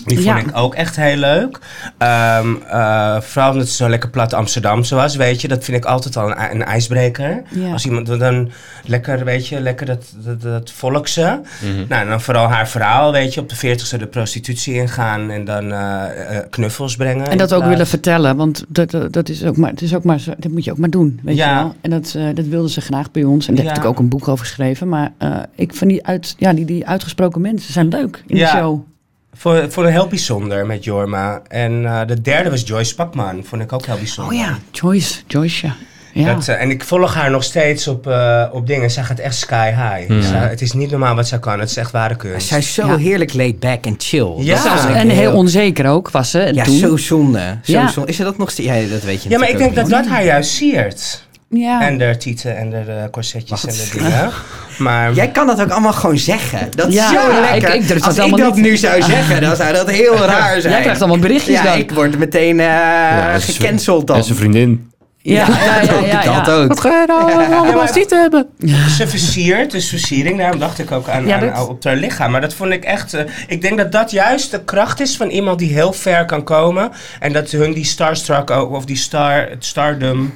Speaker 1: Die vond
Speaker 4: Ja.
Speaker 1: ik ook echt heel leuk. Ehm, eh, vooral omdat ze zo lekker plat Amsterdamse was, weet je. Dat vind ik altijd al een, i- een ijsbreker.
Speaker 4: Ja.
Speaker 1: Als iemand dan lekker, weet je, lekker dat, dat, dat volkse. Nou, en dan vooral haar verhaal, weet je. Op de veertigste de prostitutie ingaan en dan eh, eh, knuffels brengen.
Speaker 4: En
Speaker 1: in
Speaker 4: dat ook
Speaker 1: plaats-
Speaker 4: willen vertellen, want dat, dat, dat is ook maar, het is ook maar, zo- dat moet je ook maar doen, weet
Speaker 1: Ja.
Speaker 4: je wel. En dat, eh, dat wilden ze graag bij ons. En daar
Speaker 1: Ja.
Speaker 4: heb ik ook een boek over geschreven. Maar eh, ik vind die, uit, ja, die, die uitgesproken mensen zijn leuk in
Speaker 1: Ja.
Speaker 4: de show.
Speaker 1: Voor, voor een heel bijzonder met Jorma. En eh, de derde was Joyce Pakman. Vond ik ook heel bijzonder.
Speaker 4: Oh ja, Joyce, Joyce, ja. Ja.
Speaker 1: Dat, eh, en ik volg haar nog steeds op, eh, op dingen. Zij gaat echt sky high. Zij- het is niet normaal wat zij kan. Het is echt ware kunst.
Speaker 3: Zij is zo
Speaker 4: Ja.
Speaker 3: heerlijk laid back en chill.
Speaker 1: Ja.
Speaker 3: Dat is
Speaker 1: Ja,
Speaker 3: eigenlijk
Speaker 4: en heel onzeker ook was ze.
Speaker 3: Ja,
Speaker 4: toen.
Speaker 3: zo zonde. Zo
Speaker 4: Ja.
Speaker 3: zonde. Is er dat nog steeds? Ja, dat weet je
Speaker 1: ja, maar ik denk
Speaker 3: natuurlijk
Speaker 1: dat
Speaker 3: ook
Speaker 1: dat haar juist siert.
Speaker 4: Ja.
Speaker 1: En de tieten en de eh, corsetjes
Speaker 3: Wat?
Speaker 1: en de dingen. Maar
Speaker 3: niet. Jij kan dat ook allemaal gewoon zeggen. Dat is
Speaker 4: Ja,
Speaker 3: zo
Speaker 4: ja,
Speaker 3: lekker.
Speaker 4: ik- ik durf
Speaker 3: Als
Speaker 4: dat
Speaker 3: ik
Speaker 4: allemaal
Speaker 3: dat
Speaker 4: niet.
Speaker 3: nu zou zeggen, dan zou dat heel raar zijn.
Speaker 4: Jij krijgt allemaal berichtjes
Speaker 3: Ja,
Speaker 4: dan.
Speaker 3: ik word meteen eh
Speaker 2: dat is-
Speaker 3: gecanceld dan.
Speaker 2: Dat is een vriendin.
Speaker 4: ja, ja, ja, ja, ja.
Speaker 3: dat ook.
Speaker 2: ga je nou
Speaker 1: allemaal Ja.
Speaker 2: te hebben?
Speaker 1: ze versiert, dus versiering, daarom dacht ik ook aan,
Speaker 4: Ja,
Speaker 1: aan-
Speaker 4: dat-
Speaker 1: op haar lichaam. Maar dat vond ik echt, eh, ik denk dat dat juist de kracht is van iemand die heel ver kan komen. En dat hun die starstruck ook, of die star, het stardom,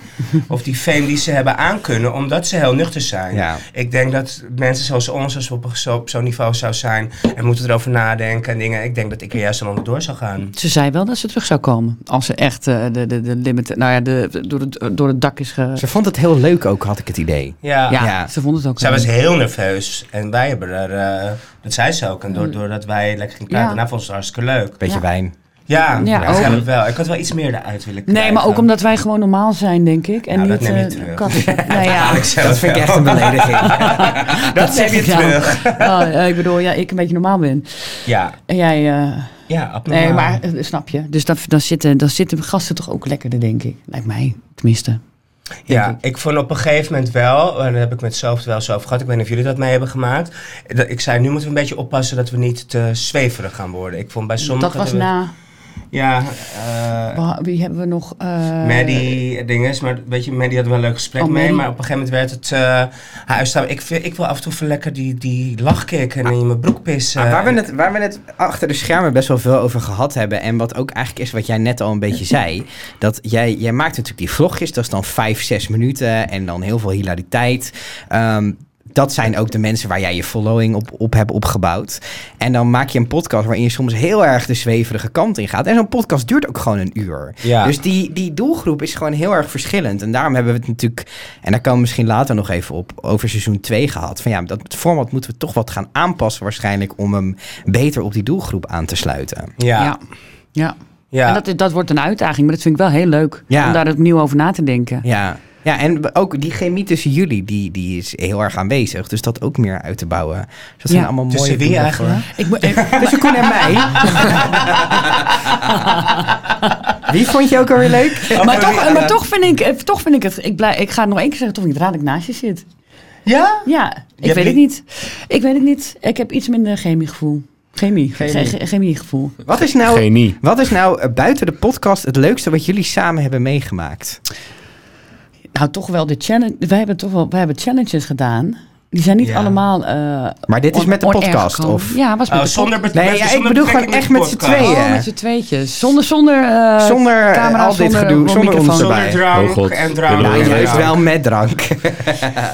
Speaker 1: of die fame die ze hebben aankunnen, omdat ze heel nuchter zijn.
Speaker 3: Ja.
Speaker 1: Ik denk dat mensen zoals ons, als we op, zo- op zo'n niveau zou zijn, en moeten erover nadenken en dingen, ik denk dat ik er juist allemaal door zou gaan.
Speaker 4: Ze zei wel dat ze terug zou komen. Als ze echt eh, de, de, de limit. Nou ja, de, de- door, het, door het dak is ge.
Speaker 3: Ze vond het heel leuk ook, had ik het idee.
Speaker 1: Ja.
Speaker 4: Ja,
Speaker 3: Ja.
Speaker 4: ze vond het ook.
Speaker 1: Zij
Speaker 4: wel.
Speaker 1: was heel nerveus en wij hebben er, eh, dat zei ze ook, en door- doordat wij lekker gingen praten,
Speaker 4: Mm. Ja.
Speaker 1: daarna vond ze het hartstikke leuk.
Speaker 3: Beetje
Speaker 4: Ja.
Speaker 3: wijn.
Speaker 1: Ja,
Speaker 4: Ja,
Speaker 1: dat
Speaker 4: ook.
Speaker 1: heb ik wel. Ik had wel iets meer eruit willen krijgen.
Speaker 4: Nee, maar ook omdat wij gewoon normaal zijn, denk ik. En
Speaker 1: Nou, dat
Speaker 4: niet.
Speaker 1: neem je
Speaker 4: eh,
Speaker 1: terug.
Speaker 4: kat- nou ja,
Speaker 1: Haal ik zelf
Speaker 3: Dat vind ik
Speaker 1: wel.
Speaker 3: echt een belediging.
Speaker 1: Dat,
Speaker 4: zeg
Speaker 1: neem je
Speaker 4: ik nou.
Speaker 1: terug.
Speaker 4: Ah, eh, ik bedoel, ja, ik een beetje normaal ben.
Speaker 1: Ja,
Speaker 4: En jij. eh,
Speaker 1: ja abnormaal.
Speaker 4: nee, maar eh, snap je. Dus dan, dan, zitten, dan zitten gasten toch ook lekkerder, denk ik. Lijkt mij, tenminste.
Speaker 1: ja, ik. vond op een gegeven moment wel, en daar heb ik met Soft wel zo over gehad, ik weet niet of jullie dat mee hebben gemaakt. dat- Ik zei, nu moeten we een beetje oppassen dat we niet te zweverig gaan worden. Ik vond bij sommigen...
Speaker 4: dat was
Speaker 1: we-
Speaker 4: na.
Speaker 1: Ja, eh
Speaker 4: wa- Wie hebben we nog? eh,
Speaker 1: Maddie, eh, dinges, maar weet je, Maddie had wel een leuk gesprek
Speaker 4: Oh,
Speaker 1: mee,
Speaker 4: Maddie.
Speaker 1: maar op een gegeven moment werd het eh haar staan. Ik, vind- ik wil af en toe even lekker die, die lachkick
Speaker 4: Ah.
Speaker 1: en in mijn broek pissen.
Speaker 3: Maar waar, we het, waar we het achter de schermen best wel veel over gehad hebben. En wat ook eigenlijk is wat jij net al een beetje zei. Dat jij, jij maakt natuurlijk die vlogjes. Dat is dan vijf, zes minuten. En dan heel veel hilariteit. Ehm, dat zijn ook de mensen waar jij je following op, op hebt opgebouwd. En dan maak je een podcast waarin je soms heel erg de zweverige kant in gaat. En zo'n podcast duurt ook gewoon een uur.
Speaker 1: Ja.
Speaker 3: Dus die, die doelgroep is gewoon heel erg verschillend. En daarom hebben we het natuurlijk, en daar komen we misschien later nog even op, over seizoen 2 gehad. Van ja, dat format moeten we toch wat gaan aanpassen waarschijnlijk om hem beter op die doelgroep aan te sluiten.
Speaker 1: Ja, ja.
Speaker 4: ja. ja. En dat, is- dat wordt een uitdaging, maar dat vind ik wel heel leuk.
Speaker 3: Ja.
Speaker 4: Om daar opnieuw over na te denken.
Speaker 3: Ja. Ja, en ook die chemie tussen jullie, die, die is heel erg aanwezig. Dus dat ook meer uit te bouwen. Dus dat zijn
Speaker 4: Ja.
Speaker 3: allemaal mooie
Speaker 1: Tussen wie
Speaker 3: doelen
Speaker 1: eigenlijk?
Speaker 3: voor-
Speaker 4: Ik, moet-
Speaker 1: Oh,
Speaker 4: eh,
Speaker 3: Tussen Koen en mij. Wie vond je ook alweer leuk?
Speaker 4: maar, toch, maar toch vind ik, eh, toch vind ik het. Ik, blij, ik ga het nog één keer zeggen, toch vind ik het raar dat ik naast je zit.
Speaker 1: Ja?
Speaker 4: Ja, ik
Speaker 1: hebt
Speaker 4: weet
Speaker 1: niet-
Speaker 4: het niet. Ik weet het niet. Ik heb iets minder chemiegevoel. Chemie.
Speaker 1: Chemie.
Speaker 4: Chemie. Chemiegevoel.
Speaker 3: Wat is nou
Speaker 2: Genie.
Speaker 3: Wat is nou eh, buiten de podcast het leukste wat jullie samen hebben meegemaakt?
Speaker 4: Nou, toch wel de challenge. Wij hebben toch wel wij hebben challenges gedaan. Die zijn niet
Speaker 1: Ja.
Speaker 4: allemaal. eh,
Speaker 3: Maar dit is
Speaker 4: on-
Speaker 3: met de
Speaker 4: on-air
Speaker 3: podcast,
Speaker 4: gekomen.
Speaker 3: of?
Speaker 4: Ja, was met
Speaker 1: Oh,
Speaker 4: de
Speaker 1: zonder bet-
Speaker 3: Nee,
Speaker 1: met-
Speaker 3: ja, ik
Speaker 1: zonder
Speaker 3: bedoel gewoon
Speaker 1: betrekking
Speaker 3: echt
Speaker 1: in de
Speaker 3: met z'n
Speaker 1: podcast.
Speaker 3: tweeën.
Speaker 4: Oh, met z'n tweetjes. Zonder, zonder, eh,
Speaker 3: Zonder eh,
Speaker 4: camera,
Speaker 3: al dit
Speaker 4: zonder
Speaker 3: gedoe, zonder
Speaker 4: microfoon.
Speaker 3: ons
Speaker 1: Zonder
Speaker 3: erbij.
Speaker 1: drank
Speaker 2: Oh god.
Speaker 1: en drank.
Speaker 2: Ja,
Speaker 3: Nou,
Speaker 1: en
Speaker 3: juist
Speaker 1: drank.
Speaker 3: wel met drank.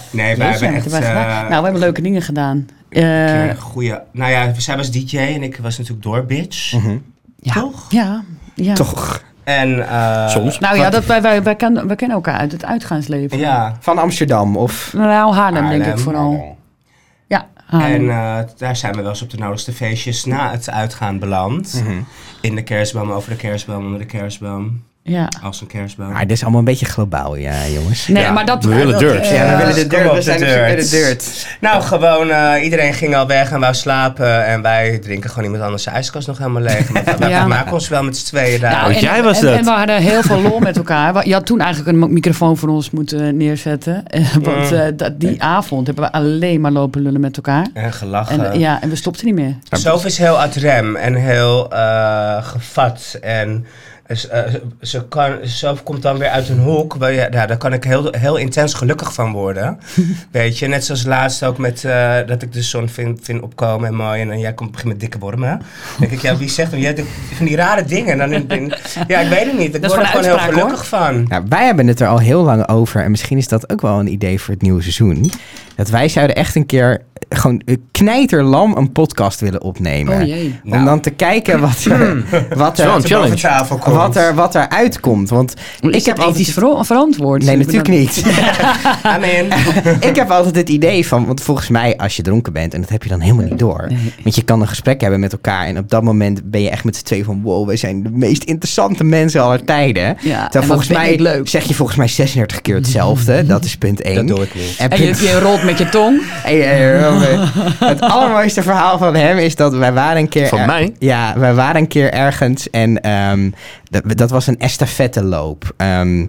Speaker 1: Nee, wij
Speaker 4: Jezus,
Speaker 1: hebben
Speaker 4: wat
Speaker 1: echt...
Speaker 4: hebben wij gedaan?
Speaker 1: eh,
Speaker 4: nou, we hebben leuke dingen gedaan. Eh,
Speaker 1: een goede. Nou ja, zij was DJ en ik was natuurlijk door bitch.
Speaker 3: Mhm.
Speaker 4: ja,
Speaker 1: Toch?
Speaker 4: Ja, ja.
Speaker 3: Toch.
Speaker 1: En eh,
Speaker 2: Soms.
Speaker 4: Nou ja, dat, wij, wij, wij, kennen, wij kennen elkaar uit het uitgaansleven.
Speaker 1: Ja.
Speaker 3: Van Amsterdam of...
Speaker 4: Nou, Haarlem, denk
Speaker 1: Haarlem. Oh.
Speaker 4: ik vooral. Ja,
Speaker 1: En
Speaker 3: Ah.
Speaker 4: Haarlem.
Speaker 1: eh, daar zijn we wel eens op de nodigste feestjes na het uitgaan beland.
Speaker 3: Mhm.
Speaker 1: In de kerstboom, over de kerstboom, onder de kerstboom.
Speaker 4: ja.
Speaker 1: Als een kerstboom.
Speaker 3: Maar dit is allemaal een beetje globaal, ja jongens.
Speaker 4: Nee,
Speaker 2: Ja,
Speaker 4: maar dat...
Speaker 2: we willen
Speaker 4: dat-
Speaker 2: durf.
Speaker 4: eh,
Speaker 3: Ja, we willen de
Speaker 1: kom
Speaker 3: dirt.
Speaker 1: op,
Speaker 3: We
Speaker 1: de
Speaker 3: zijn op zoek naar de
Speaker 1: dirt.
Speaker 3: dirt.
Speaker 1: Nou, gewoon eh, iedereen ging al weg en wou slapen. En wij drinken gewoon iemand anders zijn ijskast nog helemaal leeg. Want wij
Speaker 4: Ja.
Speaker 1: maken ons wel met z'n tweeën daar.
Speaker 4: nou,
Speaker 2: Want
Speaker 4: en,
Speaker 2: jij was
Speaker 4: en,
Speaker 2: dat.
Speaker 4: en we hadden heel veel lol met elkaar. We- Je had toen eigenlijk een microfoon voor ons moeten neerzetten. Eh, Want eh, dat, die avond hebben we alleen maar lopen lullen met elkaar.
Speaker 1: en gelachen.
Speaker 4: En, eh, ja, en we stopten niet meer.
Speaker 1: Sof is heel ad rem en heel eh, gevat. En eh, ze- ze kan, Sof komt dan weer uit een hoek. Waar je, ja, daar kan ik heel, heel intens gelukkig van worden. Weet je, net zoals laatst ook met eh, dat ik de zon vind, vind opkomen en mooi. En dan jij komt begint met dikke wormen. Dan denk ik, ja, wie zegt dat? Jij doet van die rare dingen. Dan in- in- ja, ik weet het niet. Ik
Speaker 4: Dat is
Speaker 1: word er gewoon
Speaker 4: gewoon een
Speaker 1: heel
Speaker 4: uitspraak, hoor.
Speaker 1: gelukkig van.
Speaker 3: Nou, wij hebben het er al heel lang over en misschien is dat ook wel een idee voor het nieuwe seizoen. Dat wij zouden echt een keer gewoon knijterlam een podcast willen opnemen.
Speaker 4: Oh jee.
Speaker 3: Om
Speaker 1: Nou.
Speaker 3: dan te kijken wat, er- wat,
Speaker 2: Zo,
Speaker 3: er,
Speaker 2: een challenge.
Speaker 1: Boven tafel komt.
Speaker 3: wat, er, wat er uitkomt. Want
Speaker 4: Is
Speaker 3: ik heb
Speaker 4: dat
Speaker 3: altijd...
Speaker 4: ethisch vero- verantwoord?
Speaker 3: Nee,
Speaker 4: Ik
Speaker 3: natuurlijk
Speaker 4: bedoel-
Speaker 3: niet.
Speaker 1: Amen.
Speaker 3: ik heb altijd het idee van, want volgens mij als je dronken bent, en dat heb je dan helemaal niet door. Want je kan een gesprek hebben met elkaar en op dat moment ben je echt met z'n tweeën van, wow, wij zijn de meest interessante mensen aller tijden.
Speaker 4: Ja, en
Speaker 3: Terwijl volgens
Speaker 4: wat ben
Speaker 3: mij
Speaker 4: ik leuk.
Speaker 3: zeg je volgens mij 36 keer hetzelfde. dat is punt 1.
Speaker 1: Dat doe ik niet.
Speaker 3: En
Speaker 4: En
Speaker 3: punt
Speaker 4: je, je rolt met je tong.
Speaker 3: Hey, hey, Robert. het allermooiste verhaal van hem is dat wij waren een keer...
Speaker 2: Van
Speaker 3: er-
Speaker 2: mij?
Speaker 3: Ja, wij waren een keer ergens en ehm, dat, dat was een estafetteloop. Ehm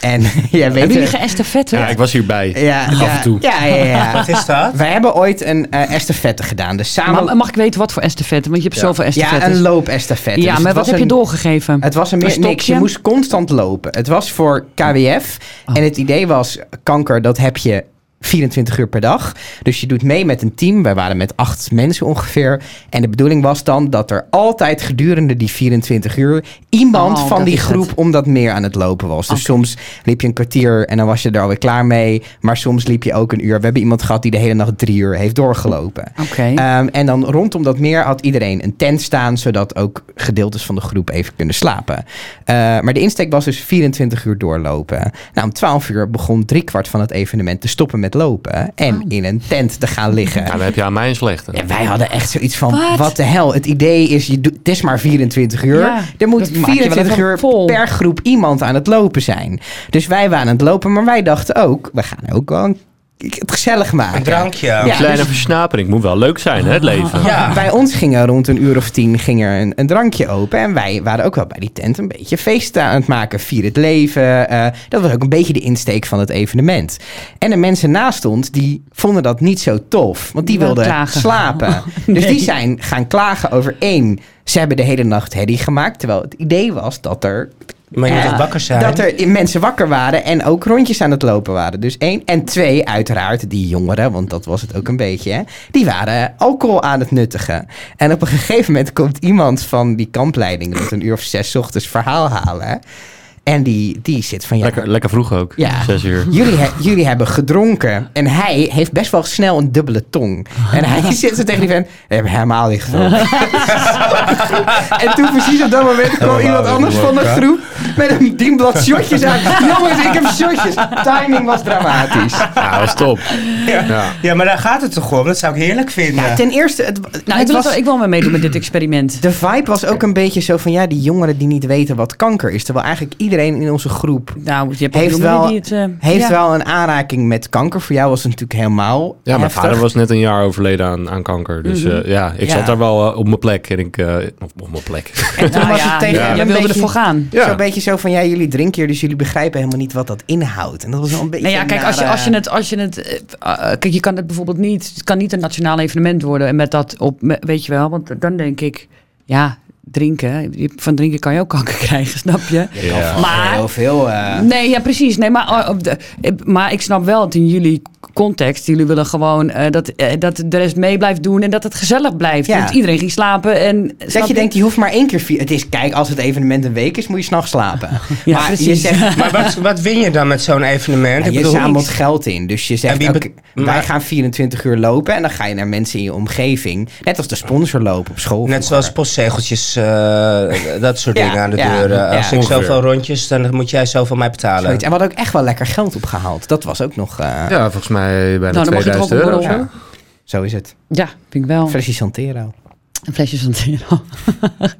Speaker 3: en jij weet
Speaker 4: Hebben
Speaker 3: het.
Speaker 4: jullie geëstafette?
Speaker 2: Ja, ik was hierbij.
Speaker 3: ja,
Speaker 2: af
Speaker 3: ja,
Speaker 2: en toe.
Speaker 3: Ja, ja, ja.
Speaker 1: Wat is dat?
Speaker 3: wij hebben ooit een eh estafette gedaan. Dus samen...
Speaker 4: Maar mag ik weten wat voor estafette? Want je hebt zoveel
Speaker 3: ja,
Speaker 4: estafettes.
Speaker 3: een loopestafette.
Speaker 4: Ja,
Speaker 3: Dus het
Speaker 4: maar wat
Speaker 3: was
Speaker 4: heb je
Speaker 3: een-
Speaker 4: doorgegeven?
Speaker 3: Het was een
Speaker 4: Een
Speaker 3: meer niks. Je
Speaker 4: stokje?
Speaker 3: moest constant lopen. Het was voor KWF.
Speaker 4: Oh.
Speaker 3: En het idee was, kanker, dat heb je 24 uur per dag. Dus je doet mee met een team. Wij waren met acht mensen ongeveer. En de bedoeling was dan dat er altijd gedurende die 24 uur... iemand
Speaker 4: Oh,
Speaker 3: van
Speaker 4: dat
Speaker 3: die
Speaker 4: is
Speaker 3: groep
Speaker 4: het.
Speaker 3: om dat meer aan het lopen was. Dus soms liep je een kwartier en dan was je er alweer klaar mee. Maar soms liep je ook een uur. We hebben iemand gehad die de hele nacht drie uur heeft doorgelopen.
Speaker 4: Oké.
Speaker 3: Ehm, en dan rondom dat meer had iedereen een tent staan, zodat ook gedeeltes van de groep even kunnen slapen. Eh, maar de insteek was dus 24 uur doorlopen. Nou, om 12 uur begon driekwart van het evenement te stoppen met lopen en
Speaker 4: Oh.
Speaker 3: in een tent te gaan liggen.
Speaker 2: Ja, dan heb je aan mij een slechte.
Speaker 3: En wij hadden echt zoiets van,
Speaker 4: Wat?
Speaker 3: wat de hel. Het idee is, je doet, het is maar 24 uur.
Speaker 4: Ja,
Speaker 3: er moet
Speaker 4: dat maak je wel
Speaker 3: 24
Speaker 4: even
Speaker 3: uur
Speaker 4: vol.
Speaker 3: per groep iemand aan het lopen zijn. Dus wij waren aan het lopen, maar wij dachten ook, we gaan ook wel een- het gezellig maken.
Speaker 1: Een drankje.
Speaker 3: Ja.
Speaker 2: Kleine
Speaker 3: dus-
Speaker 2: versnapering. Moet wel leuk zijn, hè, het leven.
Speaker 1: Ja.
Speaker 3: Bij ons ging er rond een uur of tien ging er een, een drankje open. En wij waren ook wel bij die tent een beetje feest aan het maken. Vier het leven. eh, dat was ook een beetje de insteek van het evenement. En de mensen naast ons, die vonden dat niet zo tof. Want die
Speaker 4: Die wilden
Speaker 3: wilden
Speaker 4: klagen.
Speaker 3: slapen. Dus die zijn gaan klagen over één. Ze hebben de hele nacht herrie gemaakt. Terwijl het idee was dat er
Speaker 1: Maar je moet
Speaker 3: Ja.
Speaker 1: ook wakker zijn.
Speaker 3: dat er mensen wakker waren en ook rondjes aan het lopen waren. Dus één. En twee, uiteraard, die jongeren, want dat was het ook een beetje, hè, die waren alcohol aan het nuttigen. En op een gegeven moment komt iemand van die kampleiding rond een uur of zes 's ochtends verhaal halen. En die, die zit van, ja,
Speaker 2: Lekker, lekker vroeg ook.
Speaker 3: Ja.
Speaker 2: Zes uur.
Speaker 3: Jullie, he- jullie hebben gedronken. En hij heeft best wel snel een dubbele tong. En hij zit zo tegen die vent. We hebben helemaal niet gedronken. en toen precies op dat moment kwam iemand anders van de groep. Met een dienblad shotjes aan. Jongens, ik heb shotjes. Timing was dramatisch.
Speaker 2: Ja, dat is top. Ja.
Speaker 1: Ja, maar daar gaat het toch om? Dat zou ik heerlijk vinden.
Speaker 3: Ja, ten eerste, het,
Speaker 4: nou,
Speaker 3: nou,
Speaker 4: ik,
Speaker 3: het
Speaker 4: wil het
Speaker 3: was,
Speaker 4: wel- ik wil wel meedoen met dit experiment.
Speaker 3: de vibe was ook een beetje zo van... Ja, die jongeren die niet weten wat kanker is. Terwijl eigenlijk iedereen in onze groep...
Speaker 4: Nou, je hebt ook
Speaker 3: Heeft,
Speaker 4: jongeren
Speaker 3: wel,
Speaker 4: die het... eh,
Speaker 3: heeft
Speaker 4: ja.
Speaker 3: wel een aanraking met kanker. Voor jou was het natuurlijk helemaal
Speaker 2: Ja, mijn
Speaker 3: heftig. Mhm.
Speaker 2: vader was net een jaar overleden aan, aan kanker. Dus eh, ja, ik
Speaker 3: Ja.
Speaker 2: zat daar wel eh, op mijn plek. En ik, eh, op, op mijn plek.
Speaker 3: En toen
Speaker 4: Nou
Speaker 3: was
Speaker 4: ja,
Speaker 3: het tegen
Speaker 4: ja.
Speaker 3: hem
Speaker 4: Jij
Speaker 3: een
Speaker 4: wilde
Speaker 3: beetje,
Speaker 4: ervoor gaan.
Speaker 2: Ja.
Speaker 3: Zo'n beetje zo van, ja, jullie drinken hier, dus jullie begrijpen helemaal niet wat dat inhoudt. En dat was wel een beetje...
Speaker 4: Nou ja, kijk,
Speaker 3: een
Speaker 4: als je,
Speaker 3: nare-
Speaker 4: als je het. Als je het eh, eh, kijk, je kan het bijvoorbeeld niet. Het kan niet een nationaal evenement worden. En met dat op. me- Weet je wel, want dan denk ik. Ja, drinken. je- Van drinken kan je ook kanker krijgen, snap je?
Speaker 2: Ja.
Speaker 4: Maar.
Speaker 3: Heel veel... eh,
Speaker 4: Nee, ja, precies. Nee, maar, eh, op de, eh, maar ik snap wel het in jullie context. Jullie willen gewoon eh, dat, eh, dat de rest mee blijft doen en dat het gezellig blijft.
Speaker 3: Ja.
Speaker 4: Want iedereen ging slapen. En,
Speaker 3: dat je denkt, die hoeft maar één keer... Vier. Het is, kijk, als het evenement een week is, moet je s'nachts slapen.
Speaker 4: Ja,
Speaker 3: maar je
Speaker 4: precies.
Speaker 3: zegt...
Speaker 1: Maar wat, wat win je dan met zo'n evenement?
Speaker 3: ja,
Speaker 1: Ik
Speaker 3: je
Speaker 1: bedoel,
Speaker 3: zamelt geld in. Dus je
Speaker 1: En
Speaker 3: zegt,
Speaker 1: wie
Speaker 3: oké,
Speaker 1: bet- maar-
Speaker 3: wij gaan 24 uur lopen. En dan ga je naar mensen in je omgeving. Net als de sponsor lopen op school.
Speaker 1: net zoals postzegeltjes, eh, dat soort
Speaker 3: Ja,
Speaker 1: dingen aan de
Speaker 3: ja,
Speaker 1: deur.
Speaker 3: ja.
Speaker 1: Als ik
Speaker 2: Ongeveer.
Speaker 1: zoveel rondjes, dan moet jij zoveel mij betalen.
Speaker 3: Zoiets. En we hadden ook echt wel lekker geld opgehaald. Dat was ook nog... eh,
Speaker 2: Ja, volgens mij bijna
Speaker 4: Nou, dan mag je toch ook
Speaker 2: 2000
Speaker 4: een
Speaker 2: euro.
Speaker 4: borrel.
Speaker 3: ja. Zo is het.
Speaker 4: Ja, vind ik wel.
Speaker 3: Flesje Santero.
Speaker 4: Een flesje Santero.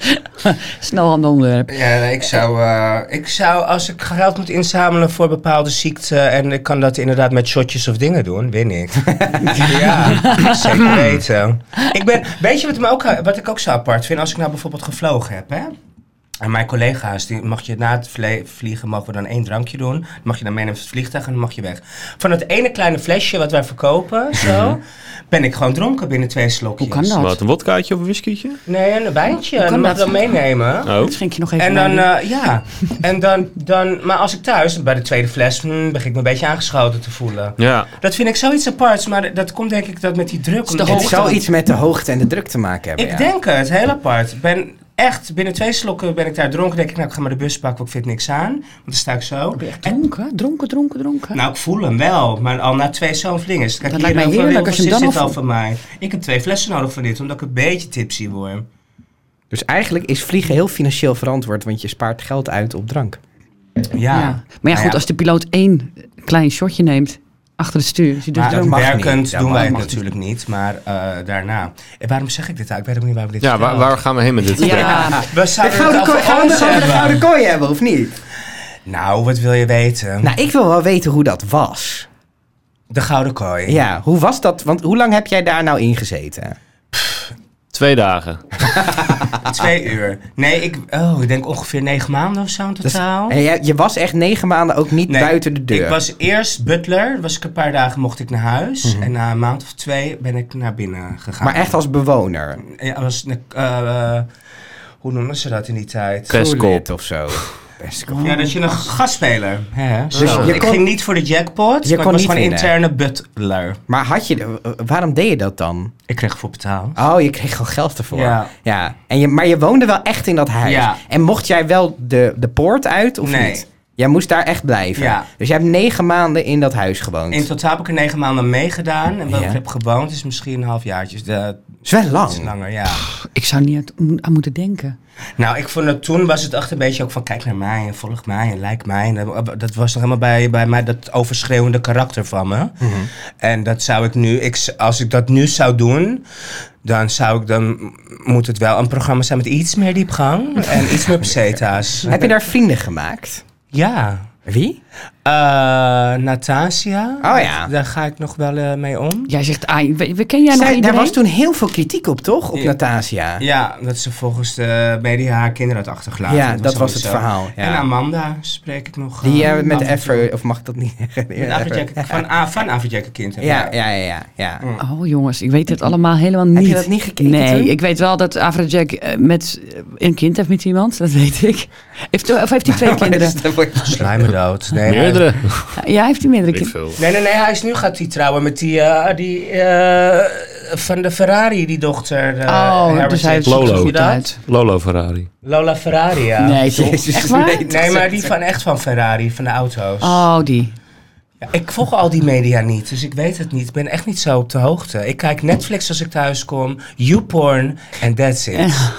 Speaker 4: Snel aan de onderwerp.
Speaker 1: Ja, nee, ik zou, eh, ik zou, als ik geld moet inzamelen voor bepaalde ziekten en ik kan dat inderdaad met shotjes of dingen doen, win ik. ja, zeker weten. Ik ben, weet je wat, me ook, wat ik ook zo apart vind? Als ik nou bijvoorbeeld gevlogen heb, hè? En mijn collega's, die mag je na het vle- vliegen, mogen we dan één drankje doen. Dan mag je dan meenemen op het vliegtuig en dan mag je weg. Van het ene kleine flesje wat wij verkopen, zo, ben ik gewoon dronken binnen twee slokjes.
Speaker 4: Hoe kan dat?
Speaker 2: Wat, een wodkaatje of een whiskietje?
Speaker 1: Nee, en een wijntje. En
Speaker 4: kan
Speaker 1: dat mag ik
Speaker 4: dat?
Speaker 1: dan meenemen.
Speaker 2: Oh.
Speaker 4: Dat schenk je nog even
Speaker 1: En dan,
Speaker 4: aan.
Speaker 1: eh, ja. En dan, dan, maar als ik thuis, bij de tweede fles, hmm, begin ik me een beetje aangeschoten te voelen.
Speaker 2: Ja.
Speaker 1: Dat vind ik zoiets aparts, maar dat komt denk ik dat met die druk.
Speaker 4: Is de
Speaker 1: omdat-
Speaker 3: Het
Speaker 4: hoogte.
Speaker 3: zou iets met de hoogte en de druk te maken hebben.
Speaker 1: Ik
Speaker 3: ja.
Speaker 1: denk het, heel apart. Ik ben echt binnen twee slokken ben ik daar dronken. denk ik, nou, ik ga maar de bus pakken, want ik vind niks aan. Want dan sta ik
Speaker 3: eh,
Speaker 1: zo.
Speaker 4: Ben je echt
Speaker 1: En-
Speaker 4: dronken? Dronken, dronken, dronken?
Speaker 1: nou, ik voel hem wel, maar al na twee zo'n vlingers. Kijk,
Speaker 4: Dat
Speaker 1: hier
Speaker 4: lijkt mij
Speaker 1: ook wel
Speaker 4: heerlijk
Speaker 1: heel
Speaker 4: als
Speaker 1: veel
Speaker 4: je hem
Speaker 1: zin
Speaker 4: dan
Speaker 1: zit
Speaker 4: al
Speaker 1: al van mij. Ik heb twee flessen nodig van dit, omdat ik een beetje tipsy word.
Speaker 3: Dus eigenlijk is vliegen heel financieel verantwoord, want je spaart geld uit op drank.
Speaker 1: Ja.
Speaker 4: Maar ja,
Speaker 1: Nou
Speaker 4: goed, als de piloot één klein shotje neemt achter het stuur. Is hij dus
Speaker 1: Maar
Speaker 4: dronken.
Speaker 3: mag niet.
Speaker 1: werkend
Speaker 3: Dat
Speaker 1: doen
Speaker 3: mag
Speaker 1: wij het
Speaker 4: niet.
Speaker 1: natuurlijk niet, maar eh, daarna. En waarom zeg ik dit eigenlijk? Ik weet ook niet waarom we dit
Speaker 2: Ja, waar,
Speaker 1: vertellen.
Speaker 2: waar gaan we heen met dit gesprek?
Speaker 4: Ja,
Speaker 1: We zouden het over
Speaker 3: gaan we
Speaker 1: ons
Speaker 3: oh, de
Speaker 1: hebben.
Speaker 3: gouden kooi hebben, of niet?
Speaker 1: Nou, wat wil je weten?
Speaker 3: Nou, ik wil wel weten hoe dat was.
Speaker 1: De gouden kooi.
Speaker 3: Ja, hoe was dat? Want hoe lang heb jij daar nou in gezeten?
Speaker 2: Twee dagen.
Speaker 1: Twee uur. Nee, ik, oh, ik denk ongeveer negen maanden of zo in
Speaker 3: Dus-
Speaker 1: totaal.
Speaker 3: en jij- je was echt negen maanden ook niet
Speaker 1: Nee,
Speaker 3: buiten de deur.
Speaker 1: Ik was eerst butler, was ik een paar dagen mocht ik naar huis. En na een maand of twee ben ik naar binnen gegaan.
Speaker 3: Mhm. maar echt als bewoner.
Speaker 1: Ja, was, een- eh, eh, hoe noemen ze dat in die tijd?
Speaker 2: Kres- Pestkop.
Speaker 3: Crewlid of zo. Pestkop.
Speaker 1: Ja, dat je een gastspeler. Hè, hè?
Speaker 3: Dus
Speaker 1: Zo.
Speaker 3: je
Speaker 1: ik
Speaker 3: kon-
Speaker 1: ging niet voor de jackpot,
Speaker 3: Je
Speaker 1: maar
Speaker 3: kon
Speaker 1: ik was
Speaker 3: niet
Speaker 1: gewoon
Speaker 3: winnen.
Speaker 1: interne butler.
Speaker 3: Maar had je, de- eh, waarom deed je dat dan?
Speaker 1: Ik kreeg voor betaald.
Speaker 3: Oh, je kreeg gewoon geld ervoor.
Speaker 1: Ja.
Speaker 3: En je, maar je woonde wel echt in dat huis.
Speaker 1: Ja.
Speaker 3: En mocht jij wel de, de poort uit of
Speaker 1: Nee.
Speaker 3: niet? Jij moest daar echt blijven.
Speaker 1: Ja.
Speaker 3: Dus jij hebt negen maanden in dat huis gewoond.
Speaker 1: In totaal heb ik er negen maanden meegedaan. En wat
Speaker 3: Ja. Oh.
Speaker 1: ik heb gewoond is misschien een half jaartje. Dus dat
Speaker 3: is wel
Speaker 1: is
Speaker 3: lang.
Speaker 1: langer, ja.
Speaker 4: ik zou niet aan- aan moeten denken.
Speaker 1: Nou, ik vond het toen was het echt een beetje ook van kijk naar mij en volg mij en lijk mij. En dat, dat was nog helemaal bij, bij mij dat overschreeuwende karakter van me.
Speaker 3: Mhm.
Speaker 1: En dat zou ik nu, ik, z- als ik dat nu zou doen, dan zou ik dan moet het wel een programma zijn met iets meer diepgang en iets meer peseta's.
Speaker 3: Heb je daar vrienden gemaakt?
Speaker 1: Ja.
Speaker 3: Wie?
Speaker 1: Eh Natasia.
Speaker 3: Oh ja.
Speaker 1: Daar ga ik nog wel eh, mee om.
Speaker 4: Jij zegt, ah, we, we ken jij nog
Speaker 3: Zij-
Speaker 4: iedereen?
Speaker 3: daar was toen heel veel kritiek op, toch? Op
Speaker 1: Ja.
Speaker 3: Natasia.
Speaker 1: Ja, dat ze volgens de media haar kinderen had achtergelaten.
Speaker 3: Ja, dat was
Speaker 1: sowieso.
Speaker 3: het verhaal, ja.
Speaker 1: En Amanda spreek ik nog.
Speaker 3: Die
Speaker 1: eh,
Speaker 3: eh, met
Speaker 1: af en toe.
Speaker 3: Afro, of mag ik dat niet zeggen?
Speaker 1: Met Afrojack- van, ah, van Afrojack een kind. hebben.
Speaker 3: Ja, ja, ja, ja. ja.
Speaker 1: Mm.
Speaker 4: Oh jongens, ik weet het allemaal helemaal niet.
Speaker 3: Heb je dat niet gekeken
Speaker 4: Nee,
Speaker 3: toen?
Speaker 4: ik weet wel dat Avrajack eh, met, eh, een kind heeft met iemand, dat weet ik. Heeft, of heeft hij twee kinderen?
Speaker 3: Dus dan word je-
Speaker 1: Slijmen dood. Nee, hij-
Speaker 2: Meerdere.
Speaker 4: Ja, heeft hij meerdere kinderen.
Speaker 2: veel.
Speaker 1: Nee, nee, nee. Hij is nu gaat hij trouwen met die, eh, die eh, van de Ferrari, die dochter. eh,
Speaker 4: Oh,
Speaker 1: Harrison.
Speaker 4: dus hij ziet
Speaker 2: Lolo.
Speaker 4: er
Speaker 1: Hoe
Speaker 4: goed
Speaker 1: dat?
Speaker 4: uit.
Speaker 2: Lolo Ferrari.
Speaker 1: Lola Ferrari, ja.
Speaker 4: Nee, toch?
Speaker 3: Jezus,
Speaker 4: Echt waar?
Speaker 3: nee.
Speaker 1: Nee, maar die van echt van Ferrari, van de auto's.
Speaker 4: Oh, die.
Speaker 1: Ja, ik volg al die media niet, dus ik weet het niet. Ik ben echt niet zo op de hoogte. Ik kijk Netflix als ik thuis kom, YouPorn en that's it.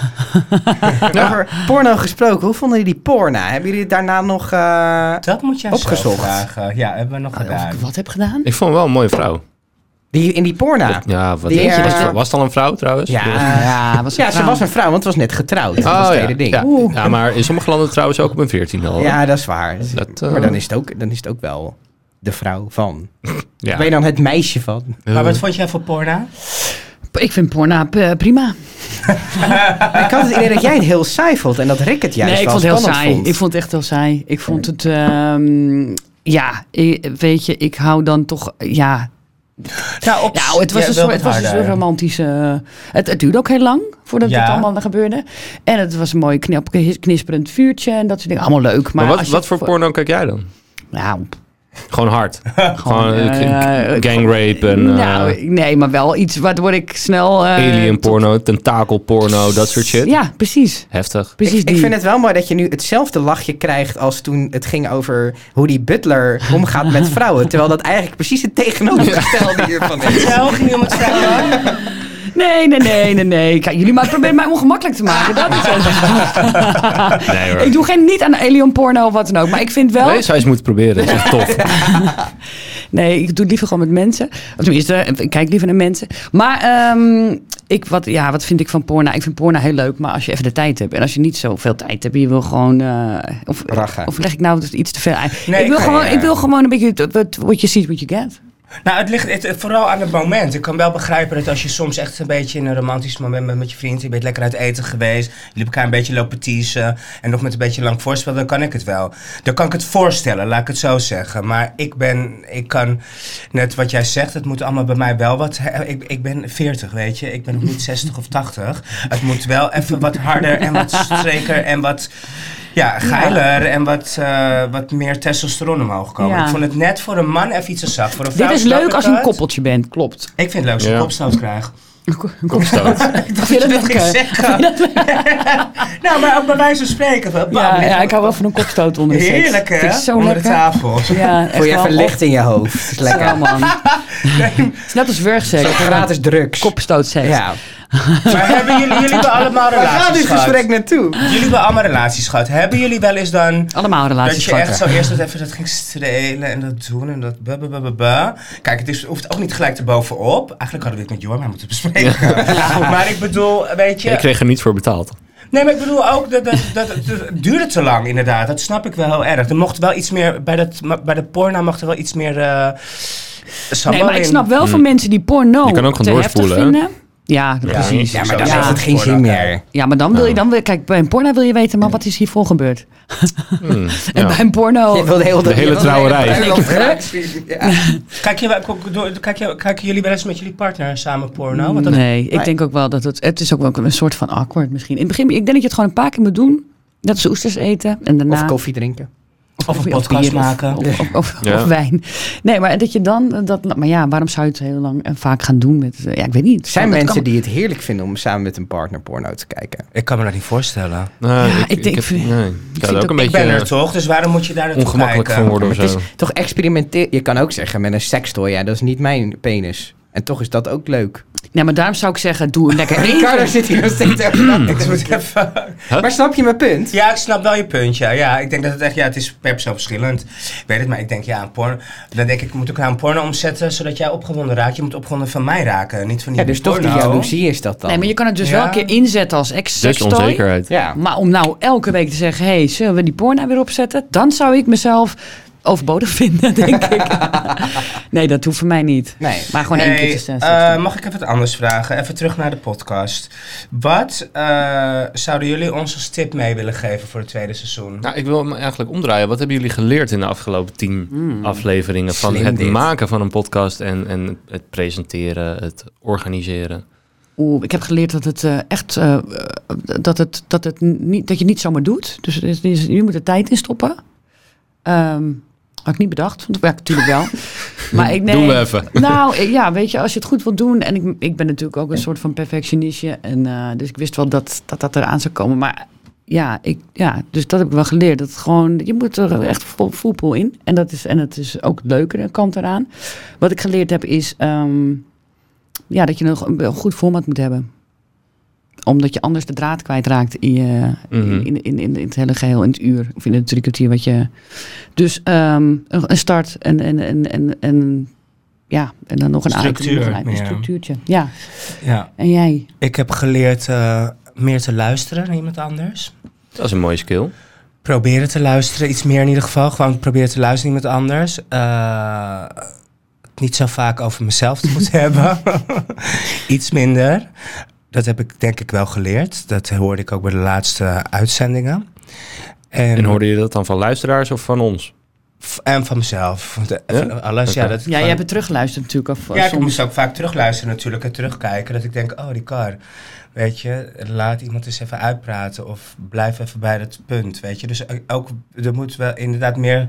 Speaker 3: Over porno gesproken, hoe vonden jullie die porno? Hebben jullie daarna nog... eh,
Speaker 1: Dat moet jij
Speaker 3: Opgezocht.
Speaker 1: zelf vragen. Ja, hebben we nog
Speaker 4: Of
Speaker 1: gedaan.
Speaker 4: ik wat heb gedaan?
Speaker 2: Ik vond hem wel een mooie vrouw.
Speaker 3: die, in die porno?
Speaker 2: Ja, wat
Speaker 3: Die,
Speaker 2: denk je?
Speaker 3: eh,
Speaker 2: Was, het- was het al een vrouw trouwens?
Speaker 3: Ja.
Speaker 4: Ja, was
Speaker 3: Ja, ze was een vrouw, want ze was net getrouwd. Dat was het
Speaker 2: Oh, ja.
Speaker 3: hele ding.
Speaker 2: Ja. ja, maar in sommige landen trouwens ook op een 14 al.
Speaker 3: Ja, dat is waar.
Speaker 2: Dat, eh,
Speaker 3: Maar dan is, het ook, dan is het ook wel de vrouw van.
Speaker 2: ja.
Speaker 3: Ben je dan het meisje van?
Speaker 1: Maar wat vond jij van porno?
Speaker 4: Ik vind porna eh, prima.
Speaker 3: Maar ik had het idee dat jij het heel saai vond en dat Rick het juist
Speaker 4: nee, ik
Speaker 3: dus wel
Speaker 4: vond het heel
Speaker 3: spannend
Speaker 4: saai.
Speaker 3: vond.
Speaker 4: Ik vond het echt heel saai. Ik vond het, ehm, ja, ik- weet je, ik hou dan toch, ja.
Speaker 1: Nou, op,
Speaker 4: Nou, het was
Speaker 1: Ja,
Speaker 4: een
Speaker 1: wel
Speaker 4: soort,
Speaker 1: wat
Speaker 4: het was een
Speaker 1: harder.
Speaker 4: soort romantische, eh, het, het duurde ook heel lang voordat
Speaker 1: Ja.
Speaker 4: het allemaal gebeurde. En het was een mooi knap, knisperend vuurtje en dat soort dingen. Allemaal leuk. Maar,
Speaker 2: Maar,
Speaker 4: als
Speaker 2: wat,
Speaker 4: je-
Speaker 2: wat voor porno kijk jij dan?
Speaker 4: Nou,
Speaker 2: Gewoon hard. Gewoon
Speaker 4: eh,
Speaker 2: eh, gangrape en eh,
Speaker 4: nou, nee, maar wel iets waardoor ik snel... eh,
Speaker 2: alien porno, tentakel porno, dat soort shit.
Speaker 4: Ja, precies.
Speaker 2: Heftig.
Speaker 4: precies
Speaker 3: ik,
Speaker 4: die.
Speaker 3: ik vind het wel mooi dat je nu hetzelfde lachje krijgt als toen het ging over hoe die butler omgaat met vrouwen. Terwijl dat eigenlijk precies het tegenovergestelde hiervan is.
Speaker 1: Ja, ook niet om het vrouwen.
Speaker 4: Nee, nee, nee, nee, nee. Kijk, jullie maar proberen mij ongemakkelijk te maken. Dat is het.
Speaker 2: Nee hoor.
Speaker 4: Ik doe geen niet aan alien porno of wat dan ook. Maar ik vind wel...
Speaker 2: Nee, zou je eens moeten proberen. Dat is echt tof.
Speaker 4: Nee, ik doe het liever gewoon met mensen. Of tenminste, eh, ik kijk liever naar mensen. Maar ehm, ik, wat, ja, wat vind ik van porno? Ik vind porno heel leuk, maar als je even de tijd hebt. En als je niet zoveel tijd hebt, je wil gewoon... eh, of,
Speaker 3: Raggen.
Speaker 4: of leg ik nou iets te veel uit?
Speaker 1: Nee,
Speaker 4: ik, wil
Speaker 1: ik-
Speaker 4: gewoon,
Speaker 1: nee,
Speaker 4: ik
Speaker 1: ja.
Speaker 4: wil gewoon een beetje... t- What, what you see, what you get.
Speaker 1: Nou, het ligt het- vooral aan het moment. Ik kan wel begrijpen dat als je soms echt een beetje in een romantisch moment bent met je vriend, je bent lekker uit eten geweest, jullie elkaar een beetje lopen teasen en nog met een beetje lang voorspel, dan kan ik het wel. Dan kan ik het voorstellen, laat ik het zo zeggen. Maar ik ben, ik kan, net wat jij zegt, het moet allemaal bij mij wel wat, he- ik, ik ben 40, weet je, ik ben nog niet 60 of 80. Het moet wel even wat harder en wat streker en wat... Ja, geiler en wat, eh, wat meer testosteron omhoog komen.
Speaker 4: Ja.
Speaker 1: Ik vond het net voor een man even iets te zacht. Voor een
Speaker 4: Dit
Speaker 1: vrouw
Speaker 4: is
Speaker 1: snap
Speaker 4: leuk
Speaker 1: ik
Speaker 4: als je een
Speaker 1: het.
Speaker 4: koppeltje bent, klopt.
Speaker 1: Ik vind het leuk als ik
Speaker 2: Ja.
Speaker 1: kopstoot krijg.
Speaker 2: Kopstoot.
Speaker 1: Dat
Speaker 4: Vind je dat lekker?
Speaker 1: zeggen. nou, maar ook bij wijze van spreken. van, bam,
Speaker 4: Ja,
Speaker 1: dit-
Speaker 4: ja, ik hou wel van een kopstoot onder de seks.
Speaker 1: Heerlijk, hè?
Speaker 4: Het is zo
Speaker 1: Onder
Speaker 4: lekker.
Speaker 1: de tafel.
Speaker 4: Ja, echt
Speaker 3: Voel je
Speaker 4: wel.
Speaker 3: even licht in je hoofd. Dat is lekker.
Speaker 4: Ja, man. Het is net als werkzeks.
Speaker 3: Zo gratis drugs.
Speaker 4: Kopstootseks.
Speaker 3: Ja.
Speaker 1: Maar hebben jullie, jullie hebben allemaal
Speaker 3: Waar gaat
Speaker 1: relaties
Speaker 3: dit
Speaker 1: gehad?
Speaker 3: gesprek naartoe?
Speaker 1: Jullie hebben allemaal relaties gehad. Hebben jullie wel eens dan...
Speaker 4: Allemaal
Speaker 1: Dat
Speaker 4: relaties
Speaker 1: je
Speaker 4: gehad,
Speaker 1: echt
Speaker 4: hè?
Speaker 1: zo eerst dat even dat ging strelen en dat doen en dat ba, ba, ba, ba, ba. Kijk, het is, hoeft ook niet gelijk erbovenop. Eigenlijk hadden we dit met Jorma moeten bespreken. Maar ik bedoel, weet je...
Speaker 2: Ik kreeg er niet voor betaald.
Speaker 1: Nee, maar ik bedoel ook, dat, dat, dat, het duurde te lang inderdaad. Dat snap ik wel heel erg. Er mocht wel iets meer, bij, dat, ma- bij de porno mocht er wel iets meer... eh sambal
Speaker 4: Nee, maar ik
Speaker 1: in.
Speaker 4: snap wel van mensen die porno
Speaker 2: Hmm. Je kan ook
Speaker 4: te
Speaker 2: gewoon
Speaker 4: heftig
Speaker 2: doorspoelen,
Speaker 4: vinden. Ja,
Speaker 1: Ja,
Speaker 4: precies.
Speaker 1: ja,
Speaker 4: Ja,
Speaker 1: maar
Speaker 4: maar,
Speaker 1: dat
Speaker 3: Dan
Speaker 1: is
Speaker 3: heeft het geen zin meer.
Speaker 4: dan wil je dan... wil- Kijk, bij een porno wil je weten, man, wat is hiervoor gebeurd? En bij een porno...
Speaker 3: Je wil de hele,
Speaker 2: Oh, De hele
Speaker 3: je wil
Speaker 2: trouwerij.
Speaker 3: bruiloft
Speaker 4: Ja.
Speaker 3: gratis zien. Ja.
Speaker 1: Kijk je, wel- kijk- door- kijk je, kijken jullie wel eens met jullie partner samen porno? Want dat,
Speaker 4: nee, ik denk ook wel dat het... Het is ook wel een soort van awkward misschien. In het begin, ik denk dat je het gewoon een paar keer moet doen. Dat is oesters eten. En daarna...
Speaker 3: Of koffie drinken.
Speaker 1: of een podcast
Speaker 4: bier of-
Speaker 1: maken.
Speaker 4: Of, of, of-
Speaker 2: Ja.
Speaker 4: of wijn. Nee, maar dat je dan... eh, Dat, maar ja, waarom zou je het heel lang en vaak gaan doen met... eh, Ja, ik weet niet.
Speaker 3: Er zijn
Speaker 4: Dat
Speaker 3: mensen
Speaker 4: kan-
Speaker 3: die het heerlijk vinden om samen met een partner porno te kijken.
Speaker 1: Ik kan me dat niet voorstellen.
Speaker 2: Nou,
Speaker 4: Ja, ik denk-
Speaker 2: heb- nee. Ik
Speaker 4: vind
Speaker 2: zou er
Speaker 4: ook-
Speaker 2: ook een
Speaker 1: Ik ben
Speaker 2: beetje
Speaker 1: er toch, dus waarom moet je daar naartoe
Speaker 2: ongemakkelijk
Speaker 1: kijken?
Speaker 2: van worden of
Speaker 3: Maar het
Speaker 2: zo.
Speaker 3: is toch experimenteel. Je kan ook zeggen met een sekstoy, ja, dat is niet mijn penis. En toch is dat ook leuk.
Speaker 4: Nee, maar daarom zou ik zeggen, doe een lekker
Speaker 3: Ricardo
Speaker 4: eten.
Speaker 3: zit hier nog steeds over na te
Speaker 1: Ik moet
Speaker 3: denken.
Speaker 1: even-
Speaker 3: Maar snap je mijn punt?
Speaker 1: Ja, ik snap wel je puntje. Ja, ik denk dat het echt, ja, het is per persoon verschillend. Ik weet het, maar ik denk, ja, een porno. Dan denk ik, ik moet ook naar een porno omzetten, zodat jij opgewonden raakt. Je moet opgewonden van mij raken, niet van die
Speaker 3: Ja, dus toch die
Speaker 1: porno.
Speaker 3: jaloezie is dat dan.
Speaker 4: Nee, maar je kan het dus
Speaker 1: Ja.
Speaker 4: wel een keer inzetten als ex
Speaker 2: Dus onzekerheid.
Speaker 3: Ja.
Speaker 4: Maar om nou elke week te zeggen, hé, hey, zullen we die porno weer opzetten? Dan zou ik mezelf overbodig vinden, denk ik. nee, dat hoeft voor mij niet.
Speaker 3: Nee.
Speaker 4: Maar gewoon één
Speaker 1: Hey,
Speaker 4: keer te zetten.
Speaker 1: eh, mag ik even wat anders vragen? Even terug naar de podcast. Wat eh, zouden jullie ons als tip mee willen geven voor het tweede seizoen?
Speaker 2: Nou, ik wil me eigenlijk omdraaien. Wat hebben jullie geleerd in de afgelopen tien afleveringen van
Speaker 3: Slim
Speaker 2: het
Speaker 3: dit.
Speaker 2: maken van een podcast en, en het presenteren, het organiseren?
Speaker 4: Oeh, ik heb geleerd dat het eh, echt, eh, dat, het, dat, het niet, dat je het niet zomaar doet. Dus het is- het is- je moet er tijd in stoppen. Ehm, had ik niet bedacht. Want, ja, natuurlijk wel. maar ik, nee,
Speaker 2: Doen we even.
Speaker 4: Nou ik- ja, weet je, als je het goed wilt doen. En ik, ik ben natuurlijk ook een soort van perfectionistje. En, eh, dus ik wist wel dat, dat dat eraan zou komen. Maar ja, ik, ja, dus dat heb ik wel geleerd. Dat het gewoon, je moet er echt vol voetbal in. En dat is, en het is ook leukere kant eraan. Wat ik geleerd heb is ehm, ja, dat je nog een, een goed format moet hebben omdat je anders de draad kwijtraakt in, je,
Speaker 2: Mhm.
Speaker 4: in, in, in, in het hele geheel, in het uur of in het drie kwartier wat je. Dus ehm, een, een start en, en, en, en, en ja, en dan nog een
Speaker 1: Structuur,
Speaker 4: item, nog een item,
Speaker 1: ja.
Speaker 4: een structuurtje. Ja,
Speaker 1: Ja.
Speaker 4: en jij?
Speaker 1: Ik heb geleerd eh, meer te luisteren naar iemand anders.
Speaker 2: Dat is een mooie skill.
Speaker 1: proberen te luisteren. Iets meer in ieder geval. Gewoon proberen te luisteren met anders. Eh, het niet zo vaak over mezelf te moeten hebben. Iets minder. Dat heb ik denk ik wel geleerd. Dat hoorde ik ook bij de laatste uitzendingen.
Speaker 2: En hoorde je dat dan van luisteraars of van ons?
Speaker 1: f- en van mezelf. De-
Speaker 2: Ja?
Speaker 1: van alles. Ja,
Speaker 2: Oké.
Speaker 1: dat ik
Speaker 4: Ja,
Speaker 1: gewoon-
Speaker 4: jij hebt het teruggeluisterd natuurlijk. Of, eh,
Speaker 1: ja, ik
Speaker 4: soms.
Speaker 1: moest ook vaak terugluisteren natuurlijk en terugkijken. Dat ik denk, oh die kar, weet je, laat iemand eens even uitpraten of blijf even bij dat punt, weet je. Dus ook, er moet wel inderdaad meer,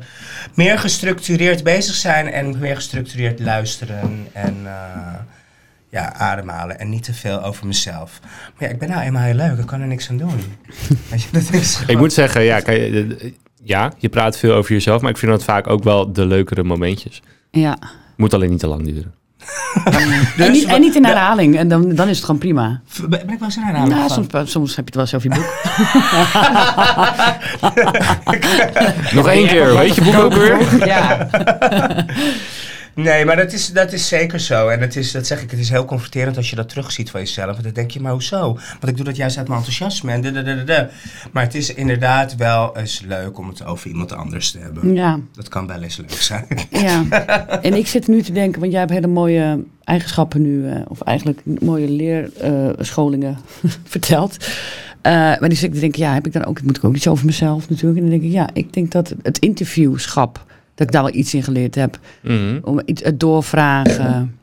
Speaker 1: meer gestructureerd bezig zijn en meer gestructureerd luisteren en eh, ja, ademhalen. En niet te veel over mezelf. Maar ja, ik ben nou eenmaal heel leuk, ik kan er niks aan doen. weet je, dat is
Speaker 2: Ik
Speaker 1: gewoon-
Speaker 2: moet zeggen, ja, kijk, eh, eh, ja, je praat veel over jezelf, maar ik vind dat vaak ook wel de leukere momentjes.
Speaker 4: Ja.
Speaker 2: Moet alleen niet te lang duren.
Speaker 1: Dus
Speaker 4: en, niet, en niet in
Speaker 1: we-
Speaker 4: herhaling, en dan, dan is het gewoon prima.
Speaker 1: Ben ben ik wel eens een herhaling
Speaker 4: Nou,
Speaker 1: van?
Speaker 4: soms, soms heb je het wel eens over je boek.
Speaker 2: Nog één keer, weet je boek ook weer?
Speaker 3: Ja.
Speaker 1: Nee, maar dat is, dat is zeker zo. En het is, dat zeg ik, het is heel confronterend als je dat terugziet van jezelf. Want dan denk je, maar hoezo? Want ik doe dat juist uit mijn enthousiasme. En dadadadada. maar het is inderdaad wel eens leuk om het over iemand anders te hebben.
Speaker 4: Ja.
Speaker 1: Dat kan wel eens leuk zijn.
Speaker 4: Ja, en ik zit nu te denken, want jij hebt hele mooie eigenschappen nu, eh, of eigenlijk mooie leerscholingen verteld. Eh, maar die zit ik te denken, ja, heb ik dan ook, moet ik ook iets over mezelf natuurlijk. En dan denk ik, ja, ik denk dat het interviewschap, dat ik daar wel iets in geleerd heb.
Speaker 2: Mhm.
Speaker 4: Om iets, het doorvragen,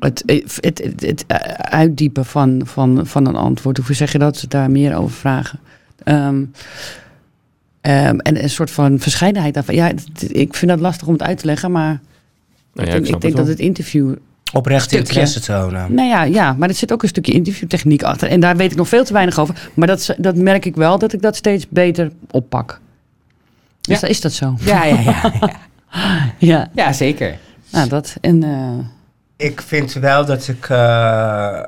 Speaker 4: het, het, het, het, eh, uitdiepen van, van, van een antwoord. Hoe zeg je dat? Daar meer over vragen. Ehm, ehm, en een soort van verscheidenheid daarvan. Ja, het- ik vind dat lastig om het uit te leggen, maar
Speaker 2: Nou ja,
Speaker 4: ik denk,
Speaker 2: snap
Speaker 4: ik denk
Speaker 2: het
Speaker 4: dat het interview
Speaker 1: Oprecht
Speaker 4: Stukje.
Speaker 1: interesse tonen.
Speaker 4: Nou ja, ja, maar er zit ook een stukje interviewtechniek achter. En daar weet ik nog veel te weinig over. Maar dat, dat merk ik wel, dat ik dat steeds beter oppak. Dus is dat zo.
Speaker 3: Ja, ja, ja. ja.
Speaker 4: Ja,
Speaker 3: ja zeker.
Speaker 4: nou dat. En, eh,
Speaker 1: Ik vind wel dat ik, eh,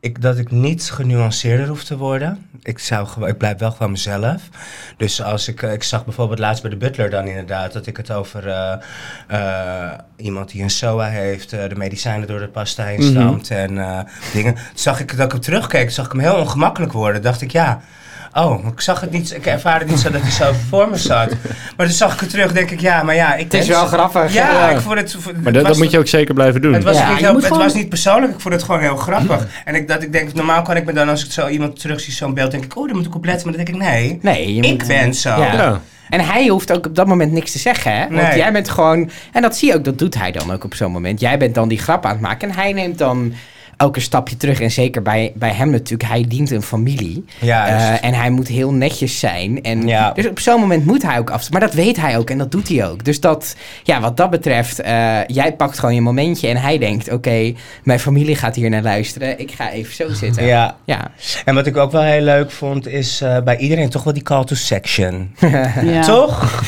Speaker 1: ik, dat ik niet genuanceerder hoef te worden. Ik, zou, gewoon- ik blijf wel gewoon mezelf. Dus als ik, eh, ik zag bijvoorbeeld laatst bij de butler dan inderdaad... dat ik het over eh, eh, iemand die een SOA heeft... eh, de medicijnen door de pasta heen
Speaker 3: Mhm.
Speaker 1: stampt en eh, dingen. Toen zag ik dat ik hem terugkeek, zag ik hem heel ongemakkelijk worden. dacht ik, ja... Oh, ik zag het niet, ik ervaarde het niet zo dat hij zo voor me zat. Maar toen zag ik het terug, denk ik, ja, maar ja, ik
Speaker 3: Het is wel grappig.
Speaker 1: Ja,
Speaker 2: Ja.
Speaker 1: ik vond het.
Speaker 2: Maar dat, dat moet je ook zeker blijven doen.
Speaker 1: Het was,
Speaker 3: Ja,
Speaker 1: niet,
Speaker 4: je
Speaker 1: heel-
Speaker 4: moet
Speaker 1: het
Speaker 4: gewoon-
Speaker 1: was niet persoonlijk, ik vond het gewoon heel grappig. En ik, dat, ik denk, normaal kan ik me dan, als ik zo iemand terug zie, zo'n beeld, denk ik, oh, daar moet ik op letten. Maar dan denk ik, nee,
Speaker 3: Nee, je
Speaker 1: ik ben zo.
Speaker 3: Ja.
Speaker 2: Ja.
Speaker 3: En hij hoeft ook op dat moment niks te zeggen, hè? Want
Speaker 1: Nee.
Speaker 3: jij bent gewoon... En dat zie je ook, dat doet hij dan ook op zo'n moment. Jij bent dan die grap aan het maken en hij neemt dan ook een stapje terug. En zeker bij, bij hem natuurlijk, hij dient een familie.
Speaker 1: Juist.
Speaker 3: Eh, en hij moet heel netjes zijn. En
Speaker 1: Ja.
Speaker 3: Dus op zo'n moment moet hij ook af. Maar dat weet hij ook en dat doet hij ook. Dus dat, ja, wat dat betreft, eh, jij pakt gewoon je momentje en hij denkt... Oké, mijn familie gaat hier naar luisteren. Ik ga even zo zitten.
Speaker 1: Ja.
Speaker 3: Ja.
Speaker 1: En wat ik ook wel heel leuk vond, is eh, bij iedereen toch wel die call to section.
Speaker 4: ja.
Speaker 1: Toch?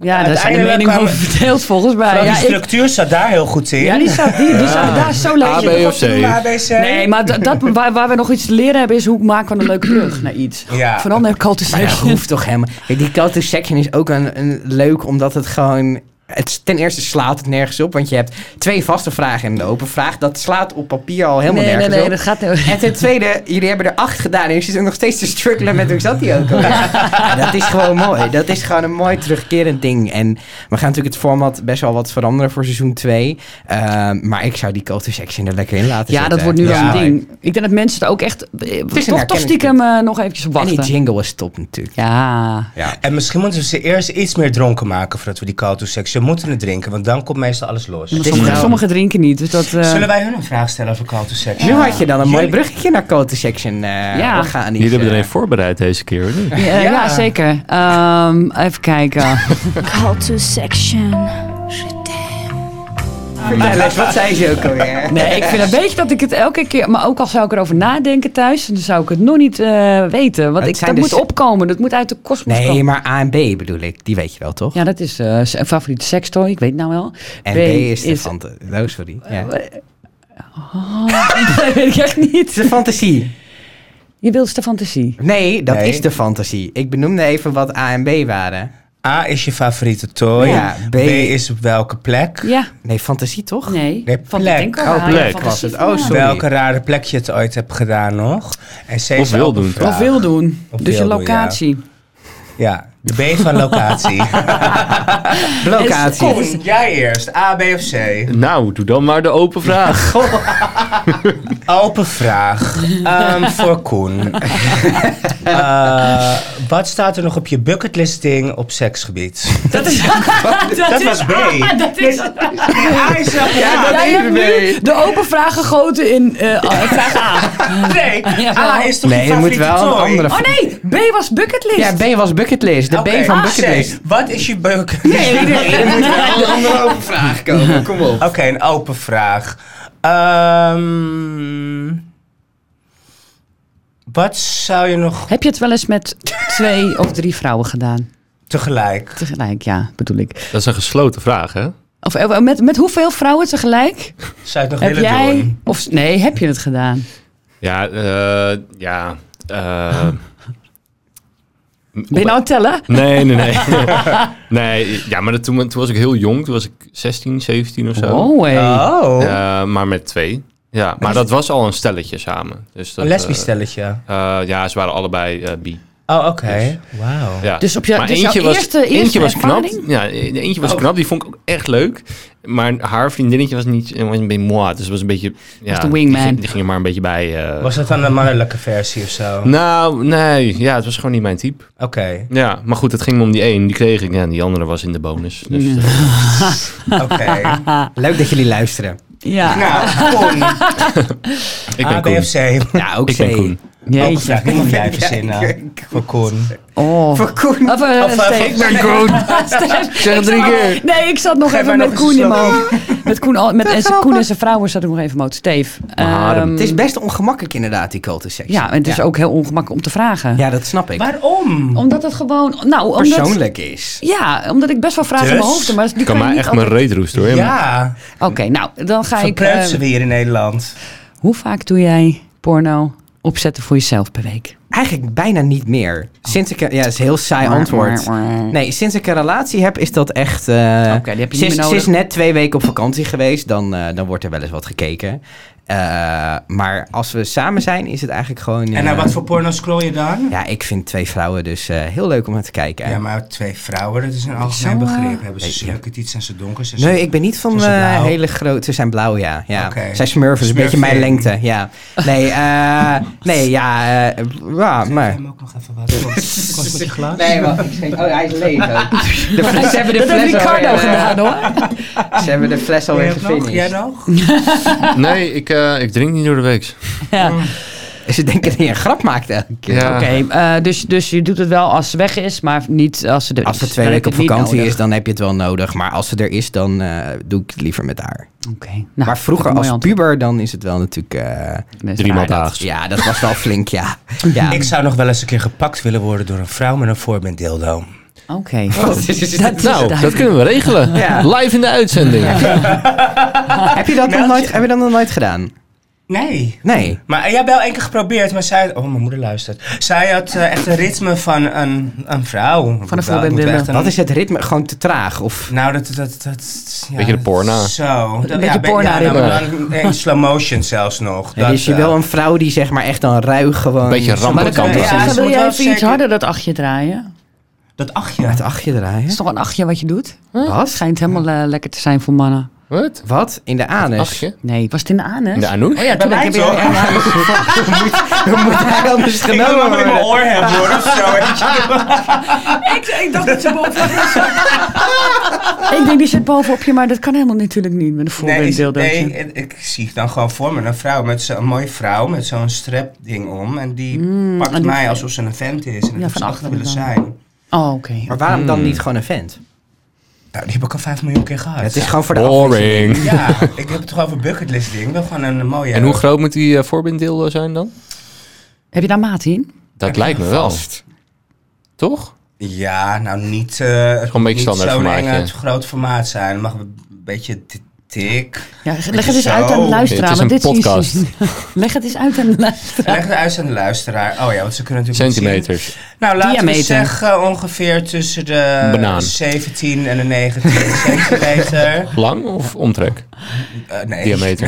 Speaker 4: Ja, daar zijn de
Speaker 1: Uiteindelijk
Speaker 4: meningen
Speaker 1: kwamen-
Speaker 4: over verdeeld volgens mij.
Speaker 1: Vooral
Speaker 4: Ja,
Speaker 1: die
Speaker 4: ik-
Speaker 1: structuur zat daar heel goed in.
Speaker 4: ja, die staat die, die
Speaker 1: Ah.
Speaker 4: staat daar zo
Speaker 2: A,
Speaker 4: leuk
Speaker 2: B
Speaker 4: in.
Speaker 2: of C.
Speaker 1: Ja, ABC.
Speaker 4: Nee, maar dat, dat- waar, waar we nog iets te leren hebben is hoe maken we een leuke brug naar iets.
Speaker 1: Ja.
Speaker 4: Vooral naar call to
Speaker 3: Maar dat
Speaker 4: section.
Speaker 3: hoeft toch helemaal... Kijk, Die call to section is ook een, een leuk, omdat het gewoon... Het, is- ten eerste slaat het nergens op, want je hebt twee vaste vragen en een open vraag. Dat slaat op papier al helemaal
Speaker 4: nee, nee,
Speaker 3: nergens
Speaker 4: nee,
Speaker 3: op.
Speaker 4: dat gaat niet.
Speaker 3: En ten tweede, jullie hebben er acht gedaan en je zit ook nog steeds te struggelen met hoe zat die ook alweer. Ja, dat is gewoon mooi. Dat is gewoon een mooi terugkerend ding. En we gaan natuurlijk het format best wel wat veranderen voor seizoen 2. maar ik zou die call to section er lekker in laten
Speaker 4: Ja,
Speaker 3: zitten.
Speaker 4: dat wordt nu
Speaker 1: Ja.
Speaker 4: wel een ding. Ik denk dat mensen er ook echt eh, toch, toch
Speaker 3: herkenning.
Speaker 4: stiekem eh, nog eventjes op
Speaker 3: En die
Speaker 4: wachten.
Speaker 3: jingle is top natuurlijk.
Speaker 4: Ja,
Speaker 1: En misschien moeten we ze eerst iets meer dronken maken voordat we die call to section moeten het drinken, want dan komt meestal alles los.
Speaker 4: maar
Speaker 3: is
Speaker 4: sommigen,
Speaker 3: nou-
Speaker 4: sommigen drinken niet. Dus dat, eh,
Speaker 1: Zullen wij hun een vraag stellen over call to section?
Speaker 3: Nu had je dan een mooi
Speaker 1: Jullie-
Speaker 3: bruggetje naar call to section eh
Speaker 4: Ja.
Speaker 3: organisch.
Speaker 2: Jullie hebben er
Speaker 3: eh.
Speaker 2: een voorbereid deze keer, hoor. niet?
Speaker 4: ja,
Speaker 1: Ja.
Speaker 4: ja, zeker. Ehm, even kijken.
Speaker 6: Call to section.
Speaker 3: Vertel eens, wat zei ze ook alweer?
Speaker 4: Nee, ik vind een beetje dat ik het elke keer... Maar ook al zou ik erover nadenken thuis... dan zou ik het nog niet eh, weten. Want
Speaker 3: Het
Speaker 4: ik,
Speaker 3: zijn
Speaker 4: dat
Speaker 3: dus-
Speaker 4: moet opkomen. Dat moet uit de kosmos
Speaker 3: Nee,
Speaker 4: komen.
Speaker 3: maar A en B bedoel ik. Die weet je wel, toch?
Speaker 4: Ja, dat is eh, s- een favoriete sekstoy. Ik weet het nou wel.
Speaker 3: en B, is de fantasie. Oh, sorry. Ja.
Speaker 4: Eh, dat weet ik echt niet.
Speaker 3: de fantasie.
Speaker 4: Je wildste fantasie.
Speaker 3: Nee, dat
Speaker 1: Nee.
Speaker 3: is de fantasie. Ik benoemde even wat A en B waren.
Speaker 1: A is je favoriete toy.
Speaker 3: Ja,
Speaker 1: B,
Speaker 3: B-
Speaker 1: is op welke plek.
Speaker 4: Ja.
Speaker 3: Nee, fantasie toch?
Speaker 4: Nee.
Speaker 1: Nee,
Speaker 4: van
Speaker 1: plek.
Speaker 4: denk
Speaker 3: Oh, plek was het. Oh, sorry.
Speaker 1: Welke rare plek je het ooit hebt gedaan nog. En C
Speaker 2: Of
Speaker 1: is
Speaker 2: wil
Speaker 1: ook een
Speaker 2: doen.
Speaker 1: vraag.
Speaker 4: Of wil doen.
Speaker 1: Of
Speaker 4: dus je
Speaker 1: wil doen,
Speaker 4: locatie.
Speaker 1: Ja, de B van locatie.
Speaker 3: Locatie.
Speaker 1: Koen, jij eerst. A, B of C?
Speaker 2: Nou, doe dan maar de open vraag.
Speaker 1: Open vraag. Ehm, voor Koen. Eh, wat staat er nog op je bucketlisting op seksgebied?
Speaker 4: Dat is...
Speaker 1: Dat was B.
Speaker 4: Ah, dat is...
Speaker 1: Nee, A is wel-
Speaker 4: Ja, jij hebt nu de open vraag gegoten in eh, ah, vraag A.
Speaker 1: Nee,
Speaker 4: Ja,
Speaker 1: A
Speaker 4: wel.
Speaker 1: is toch
Speaker 3: Nee,
Speaker 1: je
Speaker 3: je moet
Speaker 1: favoriete
Speaker 3: wel een
Speaker 1: toy?
Speaker 3: andere
Speaker 4: Oh nee, B was bucketlist.
Speaker 3: Ja, B was bucketlist. De
Speaker 1: Oké,
Speaker 3: B
Speaker 4: Ah,
Speaker 3: van
Speaker 1: A,
Speaker 3: bucketlist.
Speaker 1: C. Wat is je bucket? Nee,
Speaker 3: De andere open vraag komen. Kom op.
Speaker 1: Oké, een open vraag. Ehm, wat zou je nog
Speaker 4: Heb je het wel eens met twee of drie vrouwen gedaan?
Speaker 1: tegelijk?
Speaker 4: Tegelijk, ja, bedoel ik.
Speaker 2: Dat is een gesloten vraag, hè?
Speaker 4: Of eh, met, met hoeveel vrouwen tegelijk?
Speaker 1: Zou je het nog
Speaker 4: Heb
Speaker 1: willen
Speaker 4: jij...
Speaker 1: doen?
Speaker 4: Of, nee, heb je het gedaan?
Speaker 2: Ja, eh, ja. eh,
Speaker 4: Ben je nou aan het tellen?
Speaker 2: nee, nee, nee. nee, ja, maar dat, toen, toen was ik heel jong. Toen was ik 16, 17 of zo.
Speaker 4: Oh, hey.
Speaker 1: Oh,
Speaker 2: Eh, maar met twee. Ja, maar dat was al een stelletje samen. Dus dat,
Speaker 1: een lesbisch
Speaker 2: eh,
Speaker 1: stelletje.
Speaker 2: eh, ja, ze waren allebei eh bi.
Speaker 1: Oh, oké. Wauw.
Speaker 2: Ja.
Speaker 4: Dus op jou-
Speaker 2: Maar
Speaker 4: dus jouw eerste-
Speaker 2: eentje
Speaker 4: eerste
Speaker 2: was knap.
Speaker 4: ervaring?
Speaker 2: Ja, de eentje was
Speaker 1: Oh.
Speaker 2: knap. Die vond ik ook echt leuk. Maar haar vriendinnetje was niet was een beetje moi. Dus het was een beetje... Ja,
Speaker 4: de wingman.
Speaker 2: Die, ging- die ging er maar een beetje bij. eh.
Speaker 1: Was dat dan een mannelijke versie of zo?
Speaker 2: Nou, nee. Ja, het was gewoon niet mijn type.
Speaker 1: Oké.
Speaker 2: Ja, maar goed, het ging me om die één. Die kreeg ik. Ja, en die andere was in de bonus. Dus, eh,
Speaker 1: Oké.
Speaker 3: Leuk dat jullie luisteren.
Speaker 4: Ja.
Speaker 1: nou, Koen.
Speaker 2: ik ben
Speaker 1: A, B
Speaker 2: Koen.
Speaker 4: Ah,
Speaker 1: of C.
Speaker 3: Ja, ook
Speaker 2: Ik ben Koen.
Speaker 1: Welke
Speaker 4: Jeetje.
Speaker 1: vraag? Die moet jij
Speaker 3: Ja,
Speaker 1: verzinnen.
Speaker 3: ik-
Speaker 1: Voor Koen.
Speaker 4: Oh.
Speaker 3: Voor Koen.
Speaker 4: Of, eh,
Speaker 1: Of, eh,
Speaker 4: Steve.
Speaker 1: ik ben
Speaker 2: Koen.
Speaker 4: Stef,
Speaker 2: Zeg het
Speaker 4: ik
Speaker 2: drie
Speaker 4: zat nog-
Speaker 2: keer.
Speaker 4: Nee, ik zat nog
Speaker 1: Geef
Speaker 4: even
Speaker 1: mij
Speaker 4: met
Speaker 1: nog eens
Speaker 4: Koen in
Speaker 1: een
Speaker 4: mijn hoofd. Met Koen, al, met, en,
Speaker 3: grappig.
Speaker 4: Koen en zijn vrouw zat ik nog even moot. Steve.
Speaker 2: Harem.
Speaker 4: Ehm,
Speaker 3: Het is best ongemakkelijk inderdaad, die cultus section.
Speaker 4: ja, en het is ook heel ongemakkelijk om te vragen.
Speaker 3: Ja, dat snap ik.
Speaker 1: Waarom?
Speaker 4: Omdat het gewoon... Nou, omdat,
Speaker 3: Persoonlijk is.
Speaker 4: ja, omdat ik best wel vragen in mijn
Speaker 1: Dus?
Speaker 4: hoofd heb. Maar die
Speaker 2: kan
Speaker 4: je
Speaker 2: mij
Speaker 4: niet
Speaker 2: echt mijn
Speaker 4: altijd-
Speaker 2: reet roesten hoor.
Speaker 1: Ja,
Speaker 4: Oké, nou, dan ga ik...
Speaker 1: verpreut
Speaker 4: eh,
Speaker 1: ze weer in Nederland.
Speaker 4: hoe vaak doe jij porno opzetten voor jezelf per week?
Speaker 3: Eigenlijk bijna niet meer. Sinds ik... Ja, dat is een heel saai antwoord.
Speaker 4: Nee.
Speaker 3: Nee, sinds ik een relatie heb, is dat echt... eh,
Speaker 4: Oké, die heb je niet
Speaker 3: sinds,
Speaker 4: meer nodig.
Speaker 3: sinds net twee weken op vakantie geweest, dan, eh, dan wordt er wel eens wat gekeken. Eh, maar als we samen zijn, is het eigenlijk gewoon...
Speaker 1: En naar
Speaker 3: eh,
Speaker 1: wat voor porno scroll je dan?
Speaker 3: Ja, ik vind twee vrouwen dus eh, heel leuk om naar te kijken.
Speaker 1: Ja, maar twee vrouwen, dat is een algemeen
Speaker 4: zo, eh,
Speaker 1: begrip. Hebben ze
Speaker 3: weet je.
Speaker 1: zulke iets en ze donkers? en
Speaker 3: Nee,
Speaker 1: ze-
Speaker 3: ik ben niet van
Speaker 1: Zijn ze
Speaker 3: eh,
Speaker 1: blauw?
Speaker 3: hele grote... Ze zijn blauw, ja. ja.
Speaker 1: Oké.
Speaker 3: Zijn smurfen, is een beetje mijn
Speaker 1: Smurfing.
Speaker 3: lengte. Ja. Nee, eh, nee ja, eh, ja,
Speaker 1: Ik
Speaker 3: maar...
Speaker 1: heb hem ook nog even wat. Kom, Kost met je glas?
Speaker 3: Nee, wacht. ik schenk- Oh, hij is leeg ook. De fles- ze hebben de
Speaker 4: Dat heeft
Speaker 3: fles
Speaker 4: Ricardo
Speaker 3: alweer, eh,
Speaker 4: gedaan hoor.
Speaker 3: Ze hebben de fles
Speaker 1: Jij
Speaker 3: alweer
Speaker 1: nog? Jij
Speaker 3: gefinished.
Speaker 1: nog?
Speaker 2: Nee, ik, eh, ik drink niet door de week.
Speaker 4: Ja.
Speaker 3: Ze denken dat je een grap maakt elke keer.
Speaker 2: Ja.
Speaker 4: Oké, eh, dus, dus je doet het wel als ze weg is, maar niet als ze er
Speaker 3: Als
Speaker 4: is.
Speaker 3: ze twee
Speaker 4: Dan
Speaker 3: weken op
Speaker 4: heb je het niet
Speaker 3: vakantie
Speaker 4: nodig.
Speaker 3: is, dan heb je het wel nodig. Maar als ze er is, dan eh, doe ik het liever met haar.
Speaker 4: Oké. Nou,
Speaker 3: maar vroeger
Speaker 4: dat is een
Speaker 3: als
Speaker 4: mooi
Speaker 3: puber, dan is het wel natuurlijk... eh,
Speaker 4: antwoord.
Speaker 2: Drie maal
Speaker 4: Ja,
Speaker 2: daags.
Speaker 3: ja, dat was wel flink, ja. ja.
Speaker 1: Ik zou nog wel eens een keer gepakt willen worden door een vrouw met een voorbeeld dildo.
Speaker 4: dat- Oké.
Speaker 3: Wat is Oh, dus dit?
Speaker 4: Dat-
Speaker 2: Nou,
Speaker 4: dat-
Speaker 2: dat kunnen we regelen.
Speaker 3: Ja.
Speaker 2: Live in de uitzending.
Speaker 3: heb, je dat nog nooit, heb je dat nog nooit gedaan?
Speaker 1: Nee.
Speaker 3: Nee.
Speaker 1: Maar eh, jij hebt wel één keer geprobeerd, maar zij... Oh, mijn moeder luistert. Zij had eh, echt een ritme van een, een vrouw. Moet wel-
Speaker 4: voorbeeld
Speaker 1: moet wel
Speaker 4: dildo.
Speaker 1: echt een-
Speaker 3: Wat is het ritme? Gewoon te traag? Of...
Speaker 1: Nou, dat... dat, dat ja,
Speaker 2: Beetje de porno.
Speaker 1: Zo. Dat,
Speaker 4: Beetje
Speaker 1: ben-
Speaker 4: porno
Speaker 1: nou,
Speaker 2: ritme.
Speaker 1: maar dan in slow motion zelfs nog.
Speaker 3: Ja, dus je
Speaker 1: eh,
Speaker 3: wil een vrouw die zeg maar echt dan ruig gewoon...
Speaker 2: Beetje
Speaker 4: Maar dan
Speaker 2: rampant.
Speaker 4: kan ik
Speaker 1: Ja,
Speaker 4: toch zeggen,
Speaker 1: ze
Speaker 4: wil
Speaker 1: moet
Speaker 4: jij
Speaker 1: wel
Speaker 4: even iets
Speaker 1: zeker-
Speaker 4: harder dat achtje draaien?
Speaker 1: Dat
Speaker 4: Oh
Speaker 1: achtje.
Speaker 3: Het achtje
Speaker 4: Dat is
Speaker 3: draaien.
Speaker 4: toch een achtje wat je doet? Het
Speaker 3: Wat?
Speaker 4: schijnt helemaal eh, lekker te zijn voor mannen.
Speaker 2: Wat?
Speaker 3: Wat? In de anus?
Speaker 2: Achtje?
Speaker 4: Nee, was het in de anus?
Speaker 2: In de anus?
Speaker 4: Oh
Speaker 1: Bij
Speaker 4: ja, toen ik
Speaker 1: mij
Speaker 4: heb
Speaker 1: toch?
Speaker 4: je in de anus.
Speaker 3: Hoe moet hij anders
Speaker 1: Ik wil
Speaker 3: genomen
Speaker 1: hem in mijn
Speaker 3: worden?
Speaker 1: oor hebben, hoor. Of zo. weet je.
Speaker 4: ik, ik dacht dat ze bovenop Ik denk, die zit bovenop je, maar dat kan helemaal natuurlijk niet met een
Speaker 1: Nee,
Speaker 4: voorbeeld
Speaker 1: is-
Speaker 4: deeldeeltje.
Speaker 1: nee, ik- ik zie dan gewoon voor me een vrouw met zo'n een mooie vrouw met zo'n strapding om. En die pakt
Speaker 4: Mm, en die-
Speaker 1: mij alsof ze een vent is. En dat
Speaker 4: Ja, van
Speaker 1: ze achter
Speaker 4: achteren
Speaker 1: willen
Speaker 4: dan.
Speaker 1: zijn.
Speaker 4: Oh, oké.
Speaker 3: Maar waarom dan niet gewoon een vent?
Speaker 1: Nou, die heb ik al vijf miljoen keer gehad.
Speaker 3: Het is gewoon voor de afwisseling.
Speaker 2: Boring.
Speaker 1: Ja, ik heb het toch over bucketlist ding. Ik wil gewoon een mooie...
Speaker 2: En hoe groot moet die eh, voorbinddildo zijn dan?
Speaker 4: Heb je daar maat in?
Speaker 2: Dat lijkt me wel. Toch?
Speaker 1: Ja, nou niet... eh het
Speaker 2: Gewoon een beetje
Speaker 1: moet niet
Speaker 2: standaard
Speaker 1: zo'n
Speaker 2: formaatje.
Speaker 1: enge- groot formaat zijn. Het mag een beetje t- dik.
Speaker 4: Ja, leg het eens
Speaker 1: Zo.
Speaker 4: uit aan de luisteraar.
Speaker 2: Het is een
Speaker 4: want dit
Speaker 2: podcast.
Speaker 4: leg het eens uit aan de luisteraar.
Speaker 1: Leg het uit aan de luisteraar. Oh ja, want ze kunnen natuurlijk niet zien.
Speaker 2: Centimeters.
Speaker 1: Nou, laten
Speaker 4: Diameter.
Speaker 1: we zeggen ongeveer tussen de
Speaker 2: Banaan.
Speaker 1: 17 en de 19 centimeter.
Speaker 2: Lang of omtrek?
Speaker 1: Eh, nee.
Speaker 2: Diameter.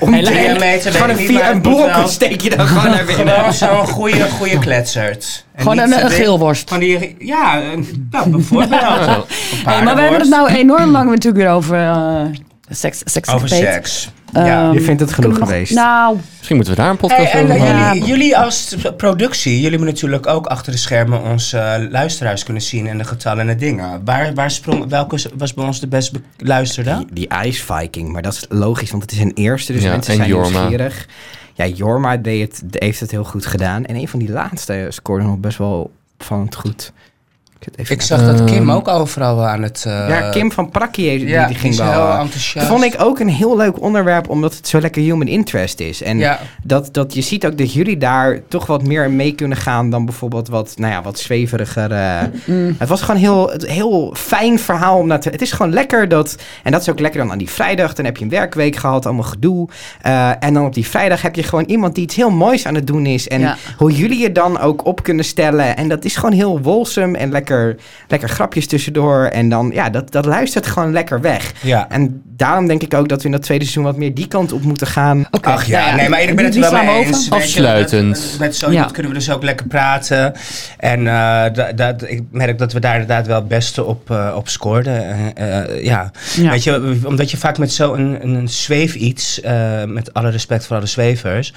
Speaker 3: Om
Speaker 1: Hey, Diameter weet ik
Speaker 3: Gewoon een
Speaker 1: niet,
Speaker 3: vier
Speaker 1: maar
Speaker 3: en
Speaker 1: het moet
Speaker 3: blok
Speaker 1: wel-
Speaker 3: steek je dan gewoon naar binnen.
Speaker 1: Gewoon zo'n goede, goede kletsert. En
Speaker 4: Gewoon
Speaker 1: niet
Speaker 4: een-
Speaker 1: zo
Speaker 4: een
Speaker 1: dik.
Speaker 4: geelworst.
Speaker 1: Van die, ja, een- nou, bijvoorbeeld. Een
Speaker 4: Hey, maar we hebben het
Speaker 1: paardenworst.
Speaker 4: nou enorm lang natuurlijk weer over eh, seks. seks
Speaker 1: Over
Speaker 4: gepeet.
Speaker 1: seks. Ja.
Speaker 4: Ehm,
Speaker 3: Je vindt het genoeg
Speaker 4: kunnen we nog-
Speaker 3: geweest.
Speaker 4: Nou,
Speaker 2: Misschien moeten we daar een
Speaker 1: Hey,
Speaker 2: podcast
Speaker 1: en
Speaker 2: over
Speaker 1: eh,
Speaker 2: maken.
Speaker 1: jullie, jullie als productie, jullie hebben natuurlijk ook achter de schermen onze eh, luisteraars kunnen zien en de getallen en de dingen. Waar, waar sprong, welke was bij ons de best beluisterde?
Speaker 3: Die Ice Viking, maar dat is logisch, want het is een eerste, dus
Speaker 2: Ja,
Speaker 3: mensen
Speaker 2: en
Speaker 3: zijn
Speaker 2: Jorma.
Speaker 3: nieuwsgierig. Ja, Jorma deed het, heeft het heel goed gedaan. En een van die laatste scoorde nog best wel opvallend goed. Ik zit even-
Speaker 1: Ik zag dat Kim ook overal wel aan het... eh,
Speaker 3: ja, Kim van Prakkie heeft- die,
Speaker 1: ja,
Speaker 3: die ging
Speaker 1: is
Speaker 3: wel...
Speaker 1: heel
Speaker 3: eh,
Speaker 1: enthousiast.
Speaker 3: Vond ik ook een heel leuk onderwerp, omdat het zo lekker human interest is. En
Speaker 1: Ja.
Speaker 3: dat, dat je ziet ook dat jullie daar toch wat meer in mee kunnen gaan dan bijvoorbeeld wat, nou ja, wat zweveriger. eh. Het was gewoon heel, het- heel fijn verhaal om naar te. Het is gewoon lekker dat. En dat is ook lekker dan aan die vrijdag. Dan heb je een werkweek gehad, allemaal gedoe. Eh, en dan op die vrijdag heb je gewoon iemand die iets heel moois aan het doen is. En
Speaker 4: Ja.
Speaker 3: hoe jullie je dan ook op kunnen stellen. En dat is gewoon heel wolsom en lekker, lekker grapjes tussendoor. En dan, ja, dat, dat luistert gewoon lekker weg.
Speaker 1: Ja.
Speaker 3: En daarom denk ik ook dat we in dat tweede seizoen wat meer die kant op moeten gaan.
Speaker 4: oké.
Speaker 1: Ach ja,
Speaker 4: Nou
Speaker 1: nee, maar ik ben het
Speaker 4: die
Speaker 1: er wel
Speaker 4: slaan
Speaker 1: mee
Speaker 4: we
Speaker 1: eens.
Speaker 4: over.
Speaker 1: weet je,
Speaker 2: Afsluitend.
Speaker 1: dat- dat- Met zo iemand
Speaker 4: Ja.
Speaker 1: kunnen we dus ook lekker praten. En eh, dat, dat, ik merk dat we daar inderdaad wel het beste op, eh, op scoorden. Eh, eh, ja.
Speaker 4: Ja.
Speaker 1: Weet je, omdat je vaak met zo'n een, een zweef iets, eh, met alle respect voor alle zwevers,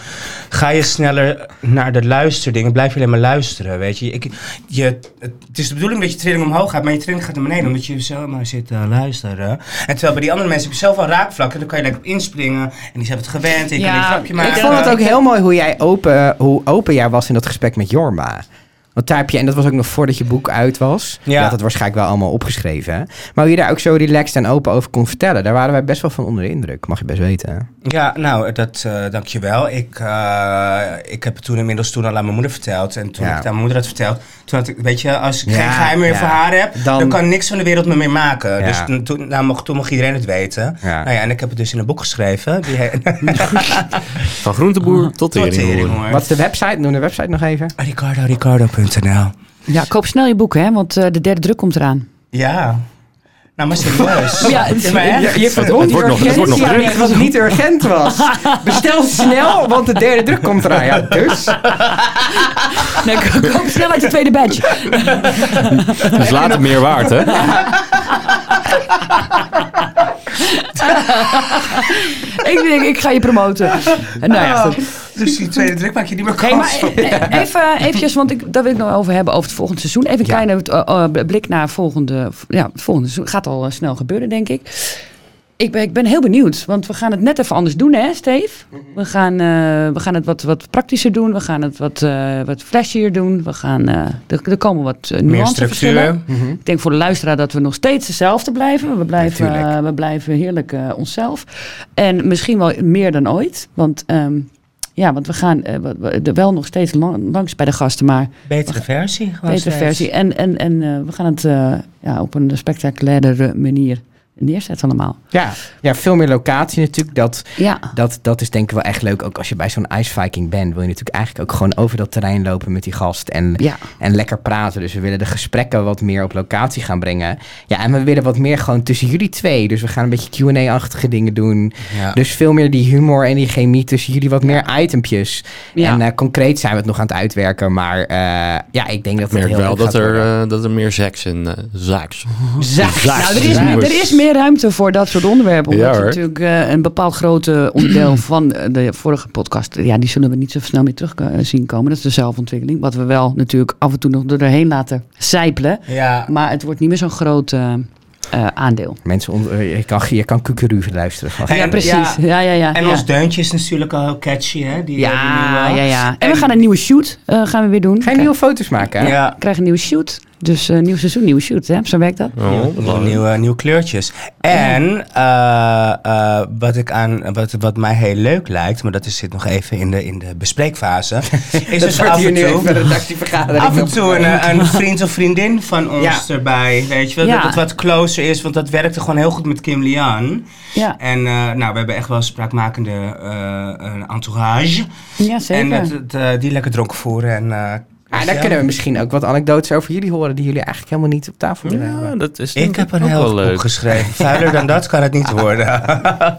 Speaker 1: ga je sneller naar de luisterdingen, blijf je alleen maar luisteren. Weet je. Ik, je het is de bedoeling dat je trilling omhoog gaat, maar je trilling gaat naar beneden. Omdat je zo maar zit te luisteren. En terwijl bij die andere mensen heb je zoveel raakvlakken. Dan kan je lekker op inspringen. En die zijn het gewend. En je
Speaker 4: Ja,
Speaker 1: kan een grapje
Speaker 4: ik
Speaker 1: maken.
Speaker 3: Ik vond het ook
Speaker 4: Ja.
Speaker 3: heel mooi hoe jij open, hoe open jij was in dat gesprek met Jorma. Want daar heb je, en dat was ook nog voordat je boek uit was.
Speaker 1: Ja.
Speaker 3: Je had het waarschijnlijk wel allemaal opgeschreven. hè? Maar hoe je daar ook zo relaxed en open over kon vertellen, daar waren wij best wel van onder de indruk. Mag je best weten.
Speaker 1: Ja, nou, dat, eh dankjewel. Ik, eh, ik heb het toen inmiddels toen al aan mijn moeder verteld. En toen
Speaker 3: Ja.
Speaker 1: ik het aan mijn moeder had verteld, toen had ik, weet je, als ik
Speaker 3: Ja,
Speaker 1: geen geheim meer
Speaker 3: ja.
Speaker 1: voor haar heb,
Speaker 3: Dan-
Speaker 1: dan, kan niks van de wereld me meer maken.
Speaker 3: Ja.
Speaker 1: Dus toen- toen, nou, mocht, toen mocht iedereen het weten.
Speaker 3: Ja.
Speaker 1: Nou ja, en ik heb het dus in een boek geschreven. Die he-
Speaker 2: Van groenteboer tot
Speaker 1: Tot
Speaker 2: teringboer.
Speaker 1: teringhoorn.
Speaker 3: Wat is de website? Noem de website nog even.
Speaker 1: Ricardo, ricardo.nl.
Speaker 4: Ja, koop snel je boek, hè, want eh, de derde druk komt eraan.
Speaker 1: Ja. Nou, maar serieus.
Speaker 4: Ja, het-
Speaker 1: maar echt.
Speaker 3: Je,
Speaker 2: Het wordt nog- het wordt nog druk.
Speaker 3: wat niet urgent was. Bestel snel, want de derde druk komt eraan. Ja, dus.
Speaker 4: Nee, ko- koop snel uit je tweede badge.
Speaker 2: Dat is later meer waard, hè?
Speaker 4: ik denk, ik ga je promoten. En nou ja, goed.
Speaker 1: Dus die tweede druk maak je niet meer kans
Speaker 4: Hey, maar
Speaker 1: op.
Speaker 4: eh, even, eventjes, want ik, daar wil ik nog over hebben, over het volgende seizoen. Even een kleine eh, eh, blik naar volgende, ja, het volgende seizoen. Gaat al eh, snel gebeuren, denk ik. Ik ben, ik ben heel benieuwd, want we gaan het net even anders doen, hè, Steve? We gaan, eh, we gaan het wat, wat praktischer doen, we gaan het wat, eh wat flashier doen. We gaan, eh, er, er komen wat eh,
Speaker 1: Meer
Speaker 4: nuanceverschillen.
Speaker 1: structuur.
Speaker 4: Ik denk voor de luisteraar dat we nog steeds dezelfde blijven. We blijven,
Speaker 1: Natuurlijk.
Speaker 4: eh, we blijven heerlijk eh, onszelf. En misschien wel meer dan ooit. Want, ehm, ja, want we gaan eh, we- we- er wel nog steeds lang- langs bij de gasten, maar
Speaker 1: Betere versie. gewoon
Speaker 4: betere
Speaker 1: steeds.
Speaker 4: versie. En, en, en eh, we gaan het eh, ja, op een spectaculaire manier neerzetten allemaal.
Speaker 3: Ja, ja, veel meer locatie natuurlijk. Dat,
Speaker 4: Ja,
Speaker 3: Dat, dat is denk ik wel echt leuk. Ook als je bij zo'n Ice Viking bent, wil je natuurlijk eigenlijk ook gewoon over dat terrein lopen met die gast. En,
Speaker 4: ja.
Speaker 3: en lekker praten. Dus we willen de gesprekken wat meer op locatie gaan brengen. Ja, en we willen wat meer gewoon tussen jullie twee. Dus we gaan een beetje QA-achtige dingen doen.
Speaker 1: Ja.
Speaker 3: Dus veel meer die humor en die chemie tussen jullie, wat meer itempjes.
Speaker 4: Ja.
Speaker 3: En eh, concreet zijn we het nog aan het uitwerken. Maar eh, ja, ik denk dat
Speaker 2: Ik
Speaker 3: het
Speaker 2: merk
Speaker 3: heel
Speaker 2: wel
Speaker 3: leuk
Speaker 2: dat
Speaker 3: gaat
Speaker 2: er,
Speaker 3: worden.
Speaker 2: eh, dat er meer seks in eh, zaaks.
Speaker 3: Zaaks.
Speaker 2: Zaaks.
Speaker 4: Nou, er is,
Speaker 2: Zaaks.
Speaker 4: er is meer ruimte voor dat soort onderwerpen.
Speaker 2: Ja,
Speaker 4: Omdat het
Speaker 2: hoor.
Speaker 4: natuurlijk eh, een bepaald grote onderdeel van eh, de vorige podcast. Ja, die zullen we niet zo snel meer terug eh, zien komen. Dat is de zelfontwikkeling. Wat we wel natuurlijk af en toe nog doorheen laten zijpelen.
Speaker 1: Ja.
Speaker 4: Maar het wordt niet meer zo'n groot eh, eh, aandeel.
Speaker 3: Mensen onder, eh, je kan, je kan kukeru luisteren. Van-
Speaker 1: Hey,
Speaker 4: ja,
Speaker 1: En-
Speaker 4: precies. Ja,
Speaker 1: ja.
Speaker 4: ja, ja. Ah, ja.
Speaker 1: En ons deuntje is natuurlijk al heel catchy, hè? Die, eh,
Speaker 4: ja,
Speaker 1: die nieuwe.
Speaker 4: ja, ja. En we gaan een nieuwe shoot eh, gaan we weer doen.
Speaker 3: Ga je nieuwe foto's maken? hè?
Speaker 1: Ja.
Speaker 4: We krijgen een nieuwe shoot. Dus eh, nieuw seizoen, nieuwe shoot. Hè? Zo werkt dat.
Speaker 2: Oh,
Speaker 1: Nieuwe, nieuwe, nieuwe kleurtjes. En eh, eh, wat, ik aan, wat, wat mij heel leuk lijkt, maar dat is, zit nog even in de, in de bespreekfase, is dus
Speaker 3: wordt
Speaker 1: af
Speaker 3: hier
Speaker 1: en
Speaker 3: nu even een
Speaker 1: toe,
Speaker 3: redactievergadering. eh,
Speaker 1: af en toe een, eh, een vriend of vriendin van ons
Speaker 3: Ja.
Speaker 1: erbij. Weet je wel,
Speaker 4: Ja.
Speaker 1: dat het wat closer is, want dat werkte gewoon heel goed met Kim Lian.
Speaker 4: Ja,
Speaker 1: En eh, nou, we hebben echt wel spraakmakende eh, een entourage.
Speaker 4: ja
Speaker 1: En
Speaker 4: zeker.
Speaker 1: dat, dat, eh, die lekker dronken voeren. En, eh,
Speaker 3: Ah,
Speaker 1: dus
Speaker 3: daar
Speaker 1: ja.
Speaker 3: kunnen we misschien ook wat anekdotes over jullie horen die jullie eigenlijk helemaal niet op tafel willen
Speaker 2: Ja,
Speaker 3: hebben.
Speaker 2: dat is
Speaker 1: Ik heb een
Speaker 2: ook wel
Speaker 1: heel leuk. boek
Speaker 2: leuk.
Speaker 1: geschreven. Vuiler dan dat kan het niet worden.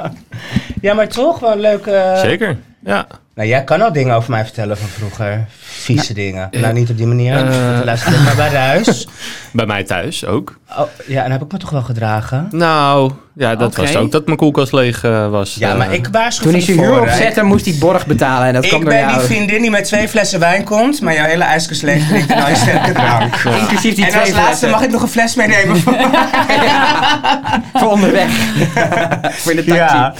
Speaker 1: ja, maar toch wel leuk. eh.
Speaker 2: Zeker, ja.
Speaker 1: Nou, jij kan al dingen over mij vertellen van vroeger. Vieze dingen. Nou, niet op die manier.
Speaker 2: Eh.
Speaker 1: Luister dit maar bij de huis.
Speaker 2: Bij mij thuis ook.
Speaker 1: Oh, ja, en heb ik me toch wel gedragen?
Speaker 2: Nou, ja, dat
Speaker 4: Oké.
Speaker 2: was ook dat mijn koelkast leeg eh, was.
Speaker 1: Ja,
Speaker 2: eh.
Speaker 1: maar ik waarschuw
Speaker 3: Toen is je
Speaker 1: van
Speaker 3: huur
Speaker 1: tevoren, hè.
Speaker 3: opzetten, moest hij borg betalen en dat kwam
Speaker 1: Ik
Speaker 3: door
Speaker 1: ben die
Speaker 3: jou.
Speaker 1: vriendin die met twee flessen wijn komt, maar jouw hele ijskast leeg drinkt en al je sterke drank.
Speaker 3: Inclusief die
Speaker 1: En als
Speaker 3: twee
Speaker 1: laatste
Speaker 3: flessen
Speaker 1: mag ik nog een fles meenemen voor
Speaker 3: voor onderweg. voor in de taxi.
Speaker 1: Ja.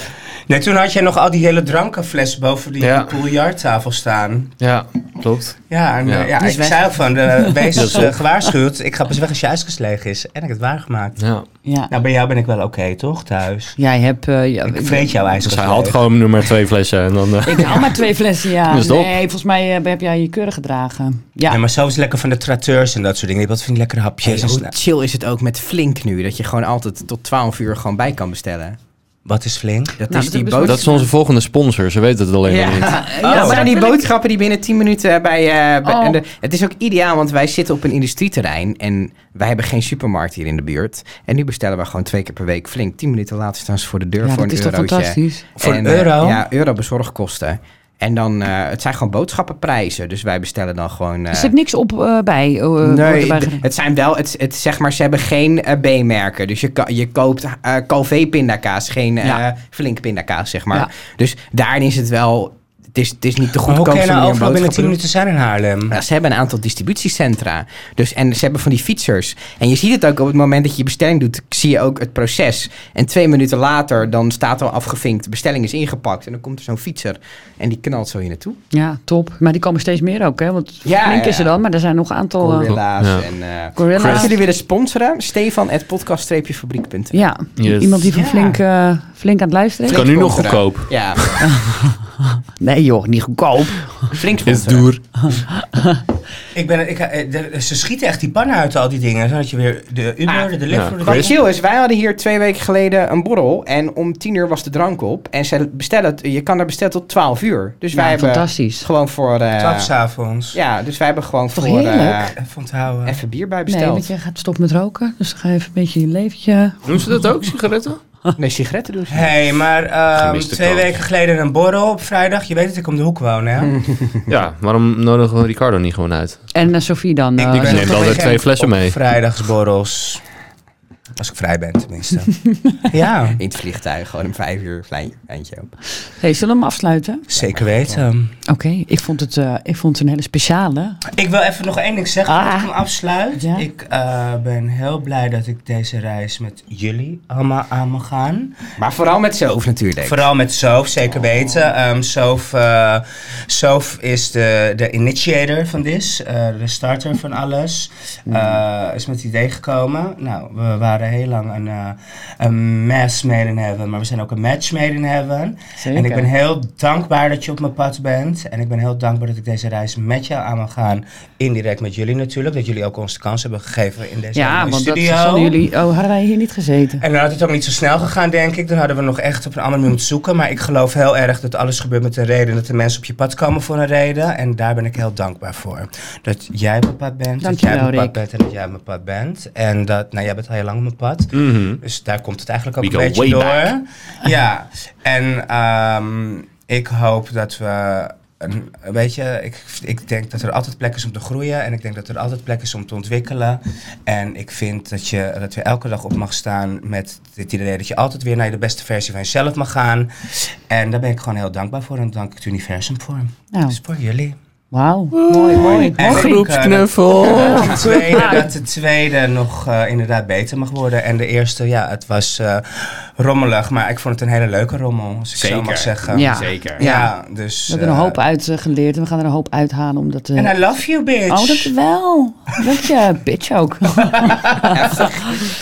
Speaker 1: Nee, toen had jij nog al die hele drankenfles boven die
Speaker 2: Ja.
Speaker 1: biljarttafel staan.
Speaker 2: Ja, klopt.
Speaker 1: Ja, en,
Speaker 2: Ja.
Speaker 1: eh, ja.
Speaker 4: Die is
Speaker 1: ik
Speaker 4: weg.
Speaker 1: zei ook van, eh, wees
Speaker 2: Dat is
Speaker 1: eh,
Speaker 2: op.
Speaker 1: gewaarschuwd. Ik ga pas weg als je ijskast leeg is. En ik heb het waargemaakt.
Speaker 2: Ja.
Speaker 4: ja.
Speaker 1: Nou, bij jou ben ik wel oké, toch, thuis?
Speaker 4: Jij hebt... eh, ja,
Speaker 1: Ik weet jouw
Speaker 2: Dus
Speaker 1: ijskast
Speaker 2: hij
Speaker 1: leeg.
Speaker 2: had gewoon nummer twee flessen en dan... eh,
Speaker 4: Ik haal Nou, maar twee flessen, ja.
Speaker 2: Dat is top.
Speaker 4: nee, volgens mij eh, heb jij je keurig gedragen. Ja,
Speaker 1: Nee, maar zo is het lekker van de tratteurs en dat soort dingen. Je hebt wat van die lekkere hapjes. Nou, en
Speaker 3: Jezus,
Speaker 1: sna-
Speaker 3: chill is het ook met Flink nu, dat je gewoon altijd tot 12 uur gewoon bij kan bestellen.
Speaker 1: Wat is flink?
Speaker 3: Dat
Speaker 4: Nou,
Speaker 3: is die
Speaker 4: dat hebben ze
Speaker 3: boodschap.
Speaker 2: dat is onze volgende sponsor, ze weten het alleen
Speaker 3: Ja.
Speaker 2: nog niet.
Speaker 4: Ja,
Speaker 3: dat
Speaker 4: maar
Speaker 3: zijn
Speaker 4: dat
Speaker 3: die
Speaker 4: wil ik-
Speaker 3: boodschappen die binnen 10 minuten bij... eh, bij-
Speaker 4: Oh.
Speaker 3: en de- het is ook ideaal, want wij zitten op een industrieterrein en wij hebben geen supermarkt hier in de buurt. En nu bestellen we gewoon twee keer per week flink. 10 minuten later staan ze voor de deur
Speaker 4: ja
Speaker 3: voor
Speaker 4: dat
Speaker 3: een
Speaker 4: is toch
Speaker 3: eurotje.
Speaker 4: fantastisch.
Speaker 1: Voor
Speaker 3: En,
Speaker 1: een
Speaker 3: eh,
Speaker 1: euro?
Speaker 3: ja, euro bezorgkosten. En dan, eh, het zijn gewoon boodschappenprijzen. Dus wij bestellen dan gewoon... eh,
Speaker 4: Er zit niks op eh, bij. eh, wordt
Speaker 3: Nee,
Speaker 4: erbij
Speaker 3: d-
Speaker 4: gedaan.
Speaker 3: het zijn wel, het, het, zeg maar, ze hebben geen eh, B-merken. Dus je, ka- je koopt eh Calvé pindakaas, geen eh
Speaker 4: Ja.
Speaker 3: flink pindakaas, zeg maar.
Speaker 4: Ja.
Speaker 3: Dus daarin is het wel Het is, het is niet de
Speaker 1: Maar hoe
Speaker 3: goedkoopste
Speaker 1: kan je nou
Speaker 3: manier om
Speaker 1: overal binnen 10
Speaker 3: boodschappen te
Speaker 1: minuten zijn in Haarlem?
Speaker 3: ja, ze hebben een aantal distributiecentra. Dus, en ze hebben van die fietsers. En je ziet het ook op het moment dat je je bestelling doet, zie je ook het proces. En twee minuten later, dan staat al afgevinkt, de bestelling is ingepakt. En dan komt er zo'n fietser en die knalt zo hier naartoe.
Speaker 4: Ja, top. Maar die komen steeds meer ook, hè? Want
Speaker 3: Ja,
Speaker 4: flink
Speaker 3: ja,
Speaker 4: is er
Speaker 3: ja.
Speaker 4: dan, maar er zijn nog een aantal... eh,
Speaker 3: Gorilla's
Speaker 2: Ja.
Speaker 3: en... eh,
Speaker 4: Gorilla's.
Speaker 3: als jullie willen sponsoren, Stefan at podcast-fabriek.nl.
Speaker 4: ja,
Speaker 2: Yes.
Speaker 4: iemand die van
Speaker 3: Ja.
Speaker 4: flink, eh, flink aan het luisteren is.
Speaker 2: kan nu nog
Speaker 3: Sponsoren.
Speaker 2: goedkoop.
Speaker 3: Ja,
Speaker 4: Nee joh, niet goedkoop.
Speaker 3: flink
Speaker 2: Is
Speaker 3: sponsoren.
Speaker 2: duur.
Speaker 1: Ik ben, ik, eh, de- ze schieten echt die pannen uit al die dingen. Zodat je weer de Uber,
Speaker 3: Ah,
Speaker 1: de Lyft...
Speaker 2: ja,
Speaker 1: voor de-
Speaker 3: Wat chill is, wij hadden hier twee weken geleden een borrel. En om tien uur was de drank op. En ze bestellen, het- je kan er bestellen tot 12 uur. Dus wij
Speaker 4: Ja,
Speaker 3: hebben
Speaker 4: fantastisch.
Speaker 3: gewoon voor... eh,
Speaker 1: 12 s'avonds.
Speaker 3: ja, dus wij hebben gewoon
Speaker 4: Toch
Speaker 3: voor... eh,
Speaker 4: heerlijk?
Speaker 1: Even onthouden.
Speaker 3: even bier bij
Speaker 4: Nee, want
Speaker 3: besteld.
Speaker 4: je gaat stoppen met roken. Dus dan ga je even een beetje je leventje...
Speaker 2: Doen ze dat ook, sigaretten?
Speaker 3: Nee, sigaretten doen ze
Speaker 1: Hé, hey, maar ehm,
Speaker 2: Gemiste
Speaker 1: twee
Speaker 2: kans.
Speaker 1: weken geleden een borrel op vrijdag. Je weet dat ik om de hoek woon, hè?
Speaker 2: Ja, waarom nodigen we Ricardo niet gewoon uit?
Speaker 4: En eh, Sophie dan. eh,
Speaker 1: ben
Speaker 2: neem altijd
Speaker 1: vergek
Speaker 2: twee flessen
Speaker 1: Nou, op
Speaker 2: mee.
Speaker 1: vrijdagsborrels. Als ik vrij ben, tenminste. ja,
Speaker 3: In het vliegtuig, gewoon om vijf uur, klein eindje op.
Speaker 4: hey, zullen we hem afsluiten?
Speaker 1: zeker weten.
Speaker 4: Oké, ik vond het eh, ik vond het een hele speciale.
Speaker 1: Ik wil even nog één ding zeggen
Speaker 4: Ah.
Speaker 1: voordat ik hem afsluit.
Speaker 4: Ja.
Speaker 1: Ik eh, ben heel blij dat ik deze reis met jullie allemaal aan mag gaan.
Speaker 3: Maar vooral met zoof natuurlijk.
Speaker 1: Vooral met Sof, zeker weten. Ehm Sof, eh, Sof is de, de initiator van dit, eh, de starter van alles.
Speaker 4: Mm.
Speaker 1: Eh, is met het idee gekomen. Nou, we waren heel lang een, eh een mess made in heaven, maar we zijn ook een match made in heaven.
Speaker 4: Zeker.
Speaker 1: En ik ben heel dankbaar dat je op mijn pad bent. En ik ben heel dankbaar dat ik deze reis met jou aan mag gaan. Indirect met jullie natuurlijk, dat jullie ook ons de kans hebben gegeven in deze
Speaker 4: ja,
Speaker 1: mooie
Speaker 4: want dat
Speaker 1: nou studio.
Speaker 4: zullen jullie... Oh, hadden wij hier niet gezeten?
Speaker 1: En dan had het ook niet zo snel gegaan, denk ik. Dan hadden we nog echt op een ander moment zoeken. Maar ik geloof heel erg dat alles gebeurt met een reden. Dat de mensen op je pad komen voor een reden. En daar ben ik heel dankbaar voor. Dat jij op mijn pad bent. dat jij
Speaker 4: Dankjewel,
Speaker 1: op mijn pad
Speaker 4: Rick.
Speaker 1: bent en dat jij op mijn pad bent. En dat, nou jij bent al heel lang op mijn pad.
Speaker 2: Mhm.
Speaker 1: Dus daar komt het eigenlijk ook
Speaker 2: We
Speaker 1: een
Speaker 2: go
Speaker 1: beetje door.
Speaker 2: way back.
Speaker 1: Ja, en ehm, ik hoop dat we. een- Weet je, ik, ik denk dat er altijd plek is om te groeien en ik denk dat er altijd plek is om te ontwikkelen. En ik vind dat je, dat je elke dag op mag staan met het idee dat je altijd weer naar de beste versie van jezelf mag gaan. En daar ben ik gewoon heel dankbaar voor en dank ik het universum voor.
Speaker 4: Nou,
Speaker 1: Dus voor jullie.
Speaker 4: wauw. Mooi, mooi.
Speaker 1: En ik, eh,
Speaker 2: Groepsknuffel.
Speaker 1: dat de tweede, dat de tweede nog eh, inderdaad beter mag worden. En de eerste, ja, het was eh, rommelig, maar ik vond het een hele leuke rommel, als ik zo
Speaker 3: Zeker.
Speaker 1: mag zeggen.
Speaker 4: Ja.
Speaker 3: Zeker.
Speaker 1: Ja, dus...
Speaker 4: We hebben er
Speaker 1: eh,
Speaker 4: een hoop uit eh, geleerd en we gaan er een hoop uithalen om dat... eh,
Speaker 1: En I love you, bitch.
Speaker 4: Oh, dat wel. Dat je bitch ook.
Speaker 1: Oh.
Speaker 3: Het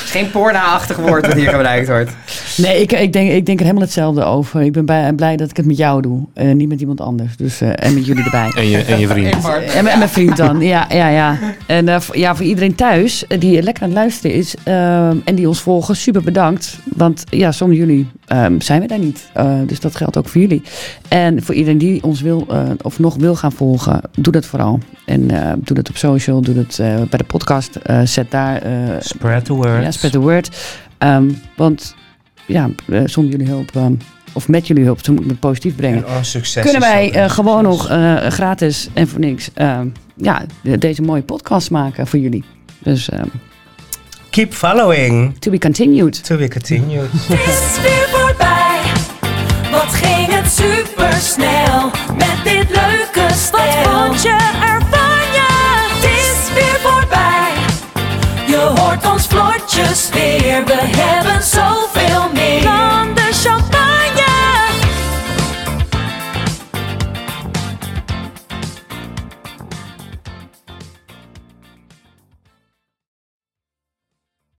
Speaker 3: is geen porna-achtig woord dat hier gebruikt wordt.
Speaker 4: Nee, ik, ik, denk, ik denk er helemaal hetzelfde over. Ik ben bij, blij dat ik het met jou doe. En niet met iemand anders. Dus, eh, en met jullie erbij.
Speaker 2: En je, en je vriend.
Speaker 4: En, en mijn vriend dan, ja, ja, ja. En eh, voor- ja, voor iedereen thuis eh, die lekker aan het luisteren is ehm, en die ons volgen, super bedankt. Want ja, zonder jullie ehm, zijn we daar niet. Eh, dus dat geldt ook voor jullie. En voor iedereen die ons wil eh, of nog wil gaan volgen, doe dat vooral. En eh, doe dat op social, doe dat eh, bij de podcast. eh, zet daar eh,
Speaker 1: Spread the word.
Speaker 4: ja, spread the word. Ehm, want ja, eh, zonder jullie hulp, ehm, of met jullie hulp, toen moet ik het positief brengen.
Speaker 1: En ons Oh, succes
Speaker 4: Kunnen
Speaker 1: is
Speaker 4: wij
Speaker 1: ook een
Speaker 4: eh, gewoon
Speaker 1: succes.
Speaker 4: nog eh, gratis en voor niks ehm, ja, de- deze mooie podcast maken voor jullie. Dus ehm,
Speaker 1: Keep following.
Speaker 4: to be continued.
Speaker 1: To be continued.
Speaker 5: Het is weer voorbij. Wat ging het super snel met dit leuke stel. Wat vond je ervan ja? Het is weer voorbij. Je hoort ons vlotjes weer. We